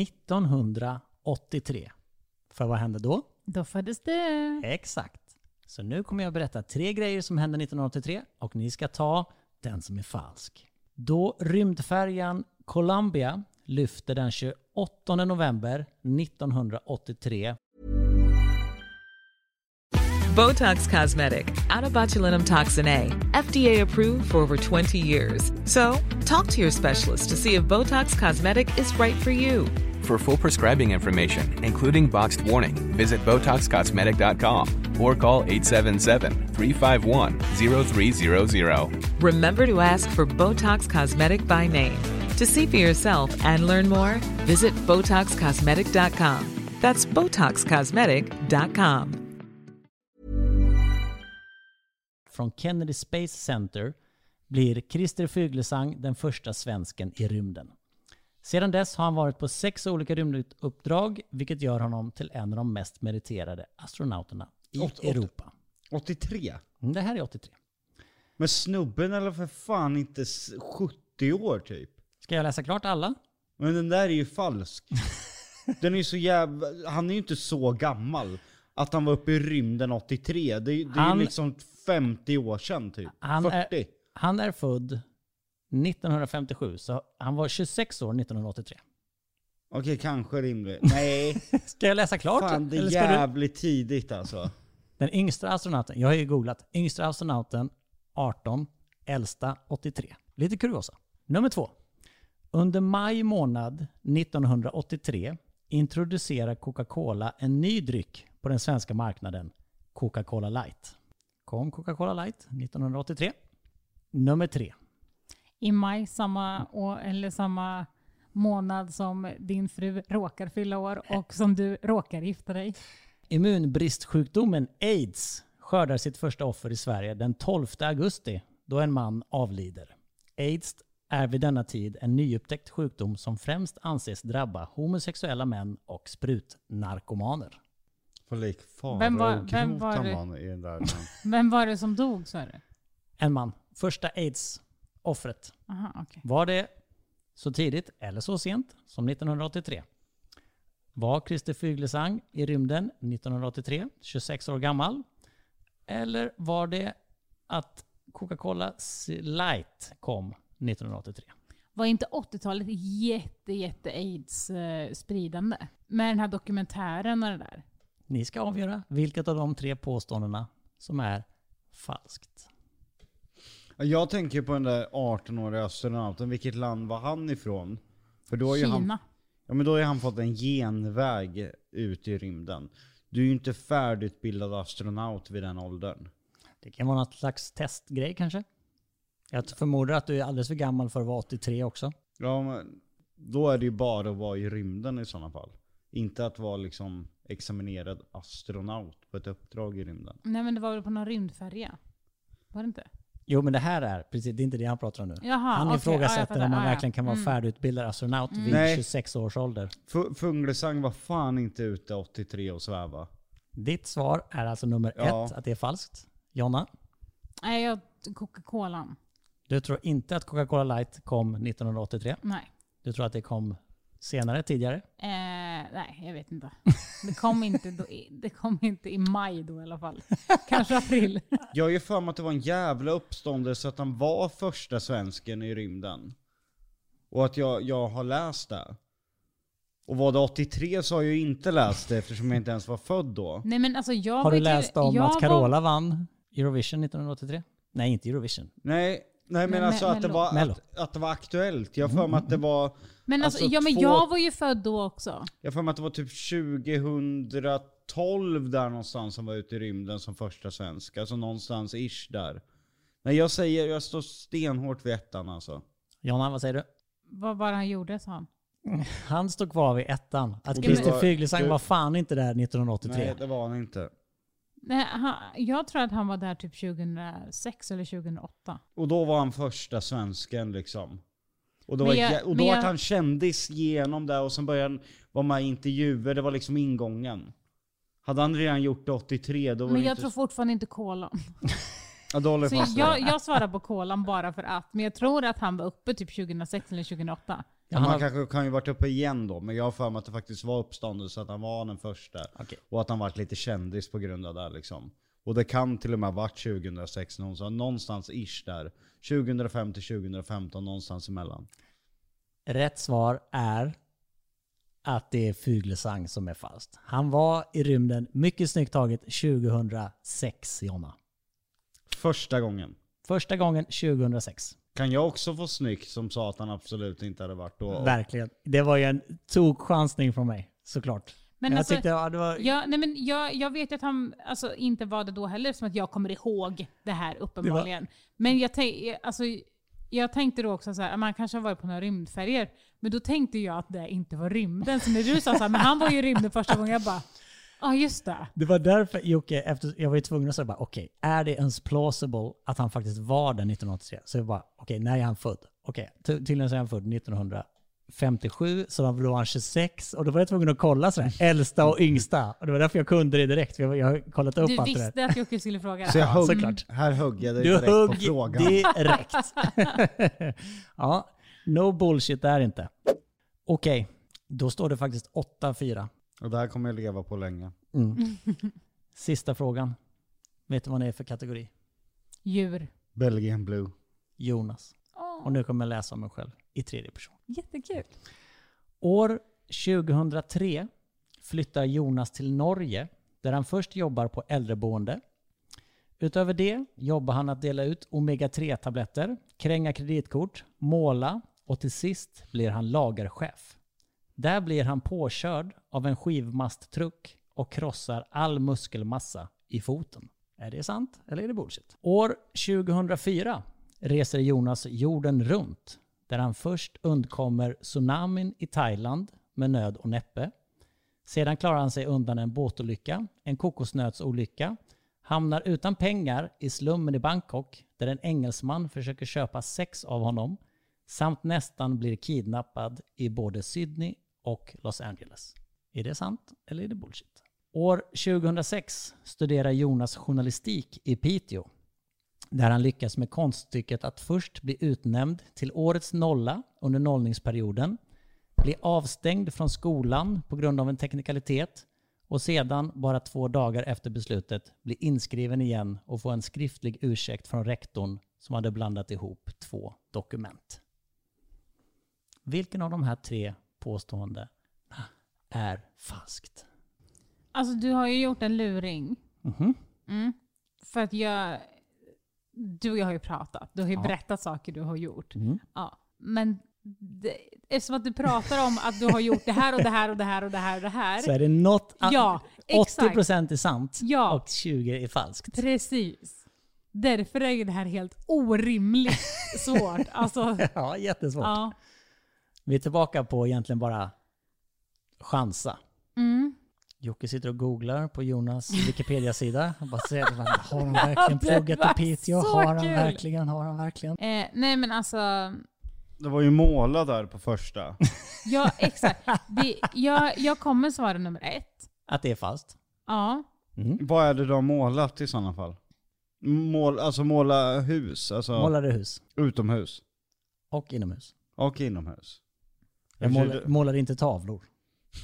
1983. För vad hände då?
Då föddes du.
Exakt. Så nu kommer jag berätta tre grejer som hände 1983 och ni ska ta den som är falsk. Då rymdfärjan Columbia lyfte den 28 november 1983
Botox Cosmetic, out of botulinum toxin A, FDA approved for over 20 years. So, talk to your specialist to see if Botox Cosmetic is right for you.
For full prescribing information, including boxed warning, visit BotoxCosmetic.com or call 877-351-0300.
Remember to ask for Botox Cosmetic by name. To see for yourself and learn more, visit BotoxCosmetic.com. That's BotoxCosmetic.com.
från Kennedy Space Center blir Christer Fuglesang den första svensken i rymden. Sedan dess har han varit på sex olika rymduppdrag, vilket gör honom till en av de mest meriterade astronauterna i
Åt- åt-
Europa.
83?
Mm, Det här är 83.
Men snubben eller för fan inte s- 70 år typ.
Ska jag läsa klart alla?
Men den där är ju falsk. Den är ju så jävla... Han är ju inte så gammal. Att han var uppe i rymden 83. Det, är- det är
Han-
ju liksom 50 år sedan typ.
Han
40.
Är, han är född 1957, så han var 26 år 1983.
Okej, kanske rimligt. Nej,
Ska jag läsa klart?
fan det är
Eller ska du-
jävligt tidigt alltså.
Den yngsta astronauten, jag har ju googlat, yngsta astronauten 18, äldsta 83. Lite kuriosa. Nummer två. Under maj månad 1983 introducerar Coca-Cola en ny dryck på den svenska marknaden, Coca-Cola Light. Kom Coca-Cola Light 1983. Nummer tre.
I maj samma, år, eller samma månad som din fru råkar fylla år och som du råkar gifta dig.
Immunbristsjukdomen aids skördar sitt första offer i Sverige den 12 augusti då en man avlider. Aids är vid denna tid en nyupptäckt sjukdom som främst anses drabba homosexuella män och sprutnarkomaner.
På lik fara
Vem var-
och
vem
grot
var
han
det?
var i den där. men-
Vem var det som dog sa du?
En man, första aids-offret.
Aha, okej.
Var det så tidigt eller så sent som 1983? Var Christer Fuglesang i rymden 1983, 26 år gammal? Eller var det att Coca-Cola Light kom 1983?
Var inte 80-talet jätte, jätte aids eh, spridande? Med den här dokumentären och det där.
Ni ska avgöra vilket av de tre påståendena som är falskt.
Jag tänker på den där 18-åriga astronauten. Vilket land var han ifrån? För då är ju
Kina.
han Ja men då har ju han fått en genväg ut i rymden. Du är ju inte färdigutbildad astronaut vid den åldern.
Det kan vara något slags testgrej kanske? Jag förmodar att du är alldeles för gammal för att vara 83 också.
Ja men då är det ju bara att vara i rymden i sådana fall. Inte att vara liksom examinerad astronaut på ett uppdrag i rymden.
Nej men det var väl på någon rymdfärja? Var det inte?
Jo men det här är, precis, det är inte det han pratar om nu.
Jaha,
han
okej. Ja, jag
ifrågasätter
fattar.
om man
Ja, ja.
verkligen kan vara
Mm.
färdigutbildad astronaut vid
Nej.
26 års ålder.
F- Fuglesang var fan inte ute 83 och sväva.
Ditt svar är alltså nummer
Ja.
ett, att det är falskt. Jonna,
Nej, jag Coca-Colan.
du tror inte att Coca-Cola Light kom 1983.
Nej.
Du tror att det kom senare, tidigare.
Eh, nej, jag vet (laughs) inte. Det kom inte, då, i- det kom inte i maj då i alla fall. Kanske april.
Jag har ju för mig att det var en jävla uppståndelse att han var första svensken i rymden. Och att jag, jag har läst det. Och var det 83 så har jag ju inte läst det eftersom jag inte ens var född då.
Nej, men alltså, jag
Har du
vet ju-
läst om
jag
att
var-
Carola vann Eurovision 1983? Nej, inte Eurovision.
Nej, nej men
Men
alltså
me-
att det,
Mello.
var,
Mello.
att, att det var aktuellt. Jag har för mig att det var,
Men alltså,
alltså
ja, men
två-
jag var ju född då också.
jag har för mig att det var typ 2012 där någonstans som var ute i rymden som första svensk. Alltså någonstans ish där. Nej jag säger, jag står stenhårt vid ettan alltså.
Jonna, vad säger du?
Vad var det han gjorde sa han.
Han står kvar vid ettan. Att
Och
du
Christer
var-
Fuglesang
du-
var fan inte där 1983.
Nej det var han inte.
Nej, han, jag tror att han var där typ 2006 eller 2008.
Och då var han första svensken liksom. Och då,
Men
var,
jag-
jä- och då
men
var
jag-
han kändis genom det och sen började han vara med i intervjuer, det var liksom ingången. Hade han redan gjort det 83 då var
Men
det
jag
inte...
tror fortfarande inte kolan.
Ja, då håller jag
Så
fast vid
jag,
det.
jag svarar på kolan bara för att. Men jag tror att han var uppe typ 2006 eller 2008.
Ja, men han kanske kan ju varit uppe igen då, men jag har för mig att det faktiskt var uppståndelse, att han var den första.
Okej.
Och att han varit lite kändis på grund av det här, liksom. Och det kan till och med ha varit 2006, någonstans, någonstans ish där. 2005 till 2015, någonstans emellan.
Rätt svar är att det är Fuglesang som är falskt. Han var i rymden, mycket snyggt taget, 2006 Jonna.
Första gången.
Första gången 2006.
Kan jag också få snyggt som sa att han absolut inte hade varit då? Och-
Verkligen. Det var ju en tokchansning från mig, såklart.
Men
jag
alltså-
tyckte ja, det var...
Ja, nej men jag, jag vet ju att han alltså, inte var det då heller eftersom att jag kommer ihåg det här uppenbarligen. Men jag, tänk, alltså, jag tänkte då också så här, man kanske har varit på några rymdfärger. Men då tänkte jag att det inte var rymden. Så när du sa så här, men han var ju i rymden första gången, jag bara, ja ah, just det.
Det var därför Jocke, efter, jag var ju tvungen att säga bara okej, är det ens plausible att han faktiskt var där 1983? Så jag bara okej, när är han född? Okej, ty- tydligen så är han född 1957, så var- då var han 26 och då var jag tvungen att kolla sådär, äldsta och yngsta. Och det var därför jag kunde det direkt, för jag, jag har kollat upp
Du
allt det där.
visste att Jocke skulle fråga
Så
det.
jag högg,
såklart.
här högg jag dig
Du
direkt på
högg
frågan.
direkt. (laughs) ja, no bullshit där inte. Okej, då står det faktiskt 8-4.
Och det här kommer jag leva på länge.
Sista frågan. Vet du vad det är för kategori?
Djur.
Belgian Blue.
Jonas.
Åh,
Och nu kommer jag läsa om mig själv i tredje person.
jättekul.
År 2003 flyttar Jonas till Norge där han först jobbar på äldreboende. Utöver det jobbar han att dela ut omega-3-tabletter, kränga kreditkort, måla och till sist blir han lagerchef. Där blir han påkörd av en skivmasttruck och krossar all muskelmassa i foten. Är det sant eller är det bullshit? År 2004 reser Jonas jorden runt där han först undkommer tsunamin i Thailand med nöd och näppe. Sedan klarar han sig undan en båtolycka, en kokosnötsolycka, hamnar utan pengar i slummen i Bangkok där en engelsman försöker köpa sex av honom samt nästan blir kidnappad i både Sydney och Los Angeles. Är det sant eller är det bullshit? År 2006 studerar Jonas journalistik i Piteå där han lyckas med konststycket att först bli utnämnd till årets nolla under nollningsperioden, bli avstängd från skolan på grund av en teknikalitet och sedan, bara två dagar efter beslutet, bli inskriven igen och få en skriftlig ursäkt från rektorn som hade blandat ihop två dokument. Vilken av de här tre påståendena är falskt?
Alltså du har ju gjort en luring.
Mhm.
Mm. För att jag... Du och jag har ju pratat. Du har ju berättat saker du har gjort.
Mm.
Ja. Men det, eftersom att du pratar om att du har gjort det här och det här och det här och det här och det här.
Så är det något... an-
Ja,
80%
exakt.
är sant
Ja.
och 20% är falskt.
Precis. Därför är ju det här helt orimligt
(laughs)
svårt. Alltså,
Ja, jättesvårt.
ja.
Vi är tillbaka på egentligen bara chansa.
Mm.
Jocke sitter och googlar på Jonas Wikipedia-sida. Han bara ser, vad- har
(laughs)
de verkligen
Det
pluggat
var
i Piteå?
så
Har han
kul!
verkligen? Har han verkligen?
Eh, nej men alltså,
Det var ju måla där på
(laughs)
första.
ja exakt. Det, jag, jag kommer svara nummer ett.
Att det är falskt.
Ja.
Vad är det du har målat i sådana fall? Mål, alltså måla hus, alltså
Målade hus
utomhus
och inomhus.
och inomhus.
Jag
Jag
målade,
försökte-
målade inte tavlor.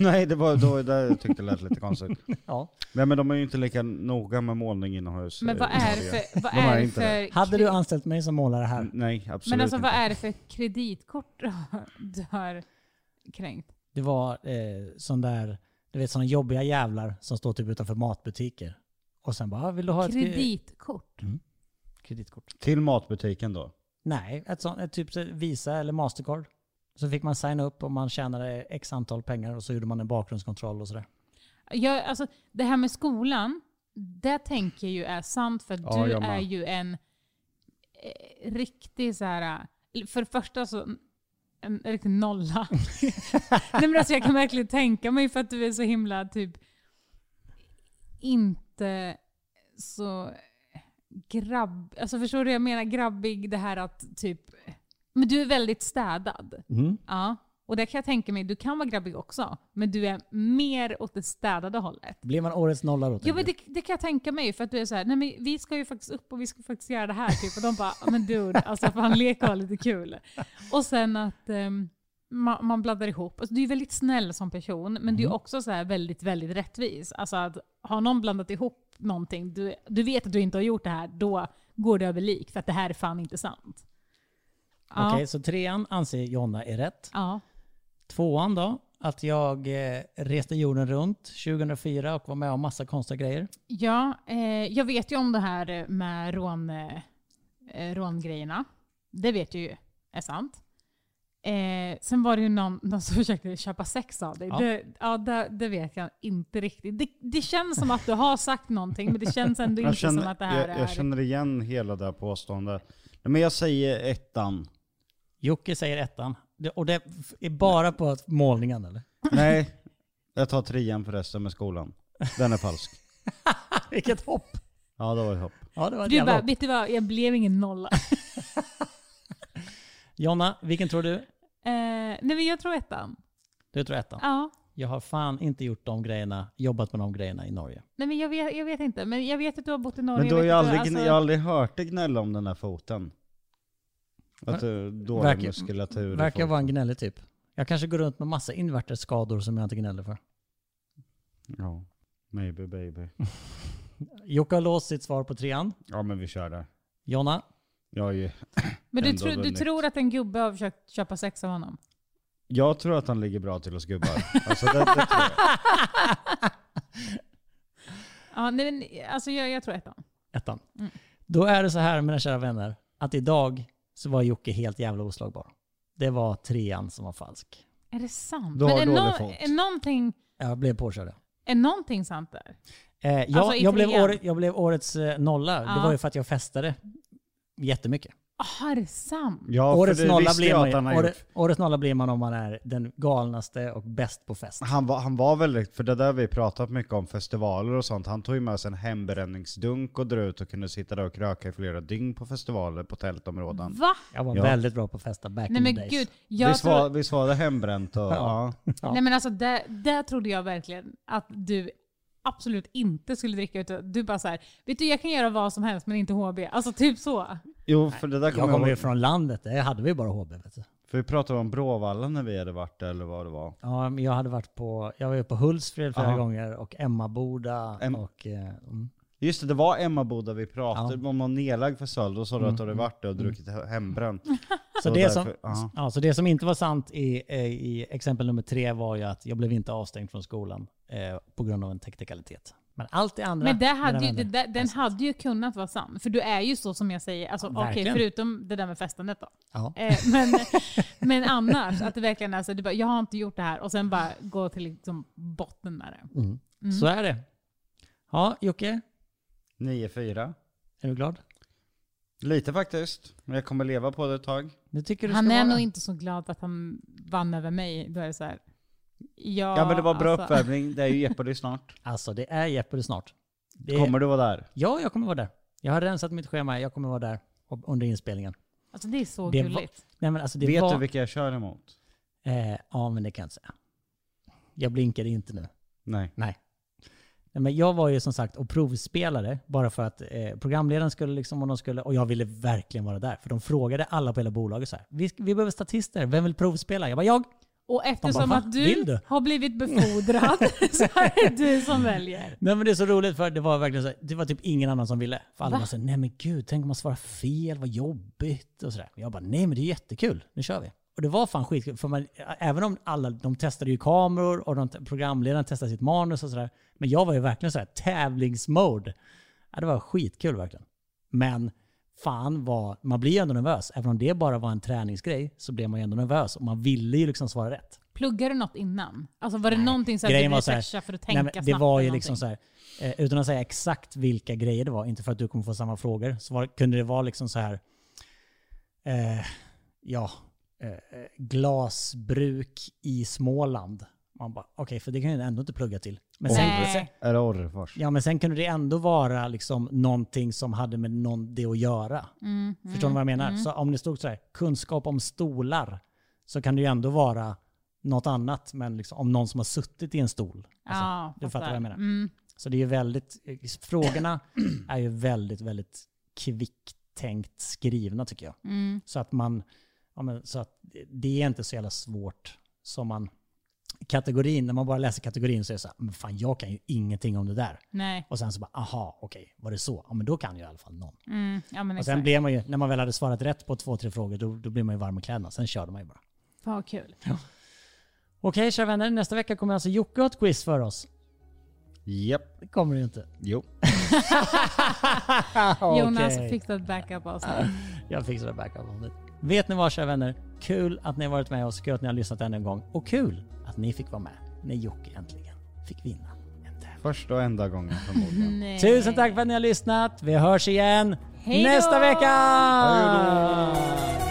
Nej, det var då det jag tyckte det lät lite konstigt.
Ja.
Nej men de är ju inte lika noga med målning inomhus. eh,
Men
i
vad är det
Norge.
för... Vad
De är
är det
inte det.
för
Hade du
kri-
anställt mig som målare här?
Nej, absolut
Men alltså
inte.
vad är det för kreditkort du har- du har kränkt?
Det var eh, sån där, du vet såna jobbiga jävlar som står typ utanför matbutiker. Och sen bara, ah, vill du ha ett kre-
Kreditkort?
kreditkort?
Till matbutiken då?
Nej, ett sånt, ett typ så- Visa eller Mastercard. Så fick man signa upp om man tjänade x antal pengar och så gjorde man en bakgrundskontroll och sådär.
Jag, alltså, det här med skolan, det tänker jag ju är sant för att
Ja,
du
jag med.
är ju en eh, riktig så här... eh, För det första så en
(laughs)
riktig nolla. Nej, men alltså, jag kan verkligen tänka mig för att du är så himla typ inte så grabb... Alltså förstår du vad jag menar? Grabbig, det här att typ... Men du är väldigt städad.
Mm.
Ja. Och där kan jag tänka mig, du kan vara grabbig också, men du är mer åt det städade hållet.
Blir man årets nolla då?
Ja men
tänker
det, det kan jag tänka mig, för att du är så här, nej men vi ska ju faktiskt upp och vi ska faktiskt göra det här typ. Och de bara, men dude, alltså fan lek och ha lite kul. Och sen att ehm, man, man bladdar ihop. Alltså, du är väldigt snäll som person, men du är också så här väldigt, väldigt rättvis. Alltså att har någon blandat ihop någonting, du, du vet att du inte har gjort det här, då går det över lik, för att det här är fan inte sant.
du?
Ja.
Okej, så trean anser Jonna är rätt.
Ja.
Tvåan då? Att jag eh, reste jorden runt 2004 och var med om massa konstiga grejer.
Ja, eh, jag vet ju om det här med rån, eh, eh, rångrejerna. Det vet jag ju är sant. Eh, sen var det ju någon, någon som (laughs) försökte köpa sex av dig.
Ja.
Det, ja, det, det vet jag inte riktigt. Det, det känns som att du har sagt någonting, men det känns ändå inte som att det
(laughs)
här
jag,
är...
jag känner igen hela det här påståendet. Nej, men jag säger ettan.
Jocke säger ettan. Det, och det f- är bara på att- målningen eller? (laughs)
Nej, jag tar trean förresten med skolan. Den är falsk.
Vilket hopp!
Ja det var ett hopp.
Ja, det var ett
Du
jävla
bara,
hopp.
vet du vad, jag blev ingen nolla. (laughs)
Jonna, vilken tror du?
Eh, nej men jag tror ettan.
Du tror ettan.
Ja.
Jag har fan inte gjort de grejerna, jobbat med de grejerna i Norge.
Nej men jag vet, jag vet inte, men jag vet att du har bott i Norge.
Men du har
jag
ju
vet att
aldrig,
alltså-
jag har aldrig hört dig gnälla om den där foten. Att du dålig
Verkar-
muskulatur. i
Verkar
foten.
vara en gnällig typ. Jag kanske går runt med massa inverterskador som jag inte gnäller för.
Ja, maybe baby.
Jocke har låst sitt svar på trean.
Ja men vi kör där.
Jonna, (laughs)
Jag, är ju,
Men du,
Ändå
tror- du
vunnit.
tror att en gubbe har försökt köpa sex av honom?
jag tror att han ligger bra till oss gubbar. Alltså, det, det tror jag.
Ja, nej, men, alltså jag, jag tror ettan.
ettan.
Mm.
Då är det så här mina kära vänner, att idag så var Jocke helt jävla oslagbar. Det var trean som var falsk.
Är det sant?
Du har
är,
dålig
nå-
fot.
är, någonting,
Jag blev påkörd.
är någonting sant där?
Eh, jag,
Alltså, i
jag, blev
trean?
åre- jag blev årets eh, nolla. Det
Ja.
var ju för att jag festade jättemycket.
Jaha, Ah, är det sant?
Ja, för
årets,
det
nolla
visste
blir
jag
man,
att
ju-
han har
åre-
gjort.
årets nolla blir man om man är den galnaste och bäst på fest.
Han var, han var väldigt, för det där vi pratat mycket om, festivaler och sånt. Han tog ju med sig en hembränningsdunk och drog ut och kunde sitta där och kröka i flera dygn på festivaler på tältområden.
Va?
Jag var
Ja.
väldigt bra på att festa back
Nej
in the
men
days.
gud.
Vi
Jag
svar,
tror,
vi svarade hembränt och ja.
Ja.
nej men alltså där, där trodde jag verkligen att du absolut inte skulle dricka utan du bara så här, vet du jag kan göra vad som helst men inte HB. Alltså typ så.
Jo för det där
Jag
kommer
kommer
jag
ju
ihåg.
från landet, där hade vi bara HB. Vet du.
För vi pratade om Bråvalla när vi hade varit där eller vad det var.
Ja, men jag, hade varit på, jag var ju på Hultsfred flera
Aha.
gånger och Emmaboda.
Em-
och, eh, mm.
Just det, det var Emmaboda vi pratade
Ja. Mm.
om, någon nedlagd för stöld. Och sa du att du hade varit där och druckit hembränt.
så,
Och
det
därför-
som,
ja.
ja, så det som inte var sant i, eh, i exempel nummer tre var ju att jag blev inte avstängd från skolan eh, på grund av en teknikalitet. Men allt det andra...
Men det
mina
hade ju, det,
vänner,
där-
är
den
sant.
hade ju kunnat vara sann. För du är ju så som jag säger, alltså, okej
Verkligen.
förutom det där med festandet då.
Ja.
Eh, men, men annars, att det verkligen är så, du bara, jag har inte gjort det här och sen bara gå till liksom botten med det.
Mm. Så är det. Ja, Jocke,
9-4.
är du glad?
Lite faktiskt. Men jag kommer leva på det ett tag.
Nu tycker du
Han
ska
är
vara.
nog inte så glad för att han vann över mig. Då är det så här, ja,
Ja men det var bra
alltså.
uppvärmning, det är ju Jeopardy snart.
Alltså, det är Jeopardy snart. Det är,
Kommer du vara där?
Ja, jag kommer vara där. Jag har rensat mitt schema, jag kommer vara där och- under inspelningen.
Alltså det är så
Det var-
gulligt.
Nej, men alltså, det
Vet
var...
du vilka jag kör emot?
Eh, ja, men det kan jag inte säga. Jag blinkar inte nu.
Nej.
Nej. Nej men jag var ju som sagt och provspelade bara för att eh, programledaren skulle liksom och de skulle och jag ville verkligen vara där. För de frågade alla på hela bolaget så här. Vi, vi behöver statister, vem vill provspela? Jag bara jag!
Och eftersom
"Va?
att du,
Vill du?"
har blivit befordrad (laughs) så är det du som väljer.
Nej men det är så roligt för det var verkligen så här, det var typ ingen annan som ville. För alla var så här, nej men gud, tänk om man svarar fel, vad jobbigt och sådär. Jag bara, nej men det är jättekul, nu kör vi. Och det var fan skitkul, för man, även om alla, de testade ju kameror och de, programledaren testade sitt manus och sådär. Men jag var ju verkligen så här tävlingsmode. Ja, det var skitkul verkligen. Men fan vad, man blir ju ändå nervös. Även om det bara var en träningsgrej så blev man ju ändå nervös och man ville ju liksom svara rätt.
Pluggar du något innan? Alltså var det någonting så att du
Grejen
ville
var så här,
stretcha för att
Nej,
tänka
men det
snabbt
var
eller
ju liksom
någonting?
så här, eh, utan att säga exakt vilka grejer det var, inte för att du kommer få samma frågor, så var, kunde det vara liksom så här, eh, ja, eh, eh, glasbruk i Småland. Man bara, okej, för det kan jag ändå inte plugga till. Men sen,
Nej.
sen,
Eller Orrefors.
ja, men sen kunde det ändå vara liksom någonting som hade med någon, det att göra.
Mm,
Förstår ni vad jag menar? Så om det stod så här, kunskap om stolar, så kan det ju ändå vara något annat, men liksom, om någon som har suttit i en stol. Alltså,
ja,
du fattar vad jag menar.
Mm.
Så det är ju väldigt, frågorna (clears throat) är ju väldigt, väldigt kvicktänkt skrivna tycker jag.
Mm.
Så att man, ja, men, så att det är inte så jävla svårt som man, kategorin, när man bara läser kategorin så är det så här, men fan jag kan ju ingenting om det där.
Nej.
Och sen så bara, aha, okej, var det så? Ja men då kan jag i alla fall någon.
Mm. Ja, men
Och sen
exakt.
blev man ju, när man väl hade svarat rätt på två, tre frågor, då, då blir man ju varm i kläderna. Sen körde man ju bara.
Fan
(laughs)
vad kul.
Okej kära vänner, nästa vecka kommer alltså Jocke ha ett quiz för oss.
Japp.
Det kommer det ju inte.
Jo.
Jonas
Okej.
fixade ett backup avsnitt.
Jag fixar det backup Vet ni vad kära vänner? Kul att ni har varit med oss, kul att ni har lyssnat ännu en gång och kul att ni fick vara med när Jocke äntligen fick vinna en tävling.
Första och enda gången förmodligen.
Nej.
Tusen tack för att ni har lyssnat. Vi hörs igen
Hej då!
nästa vecka!
Hej då!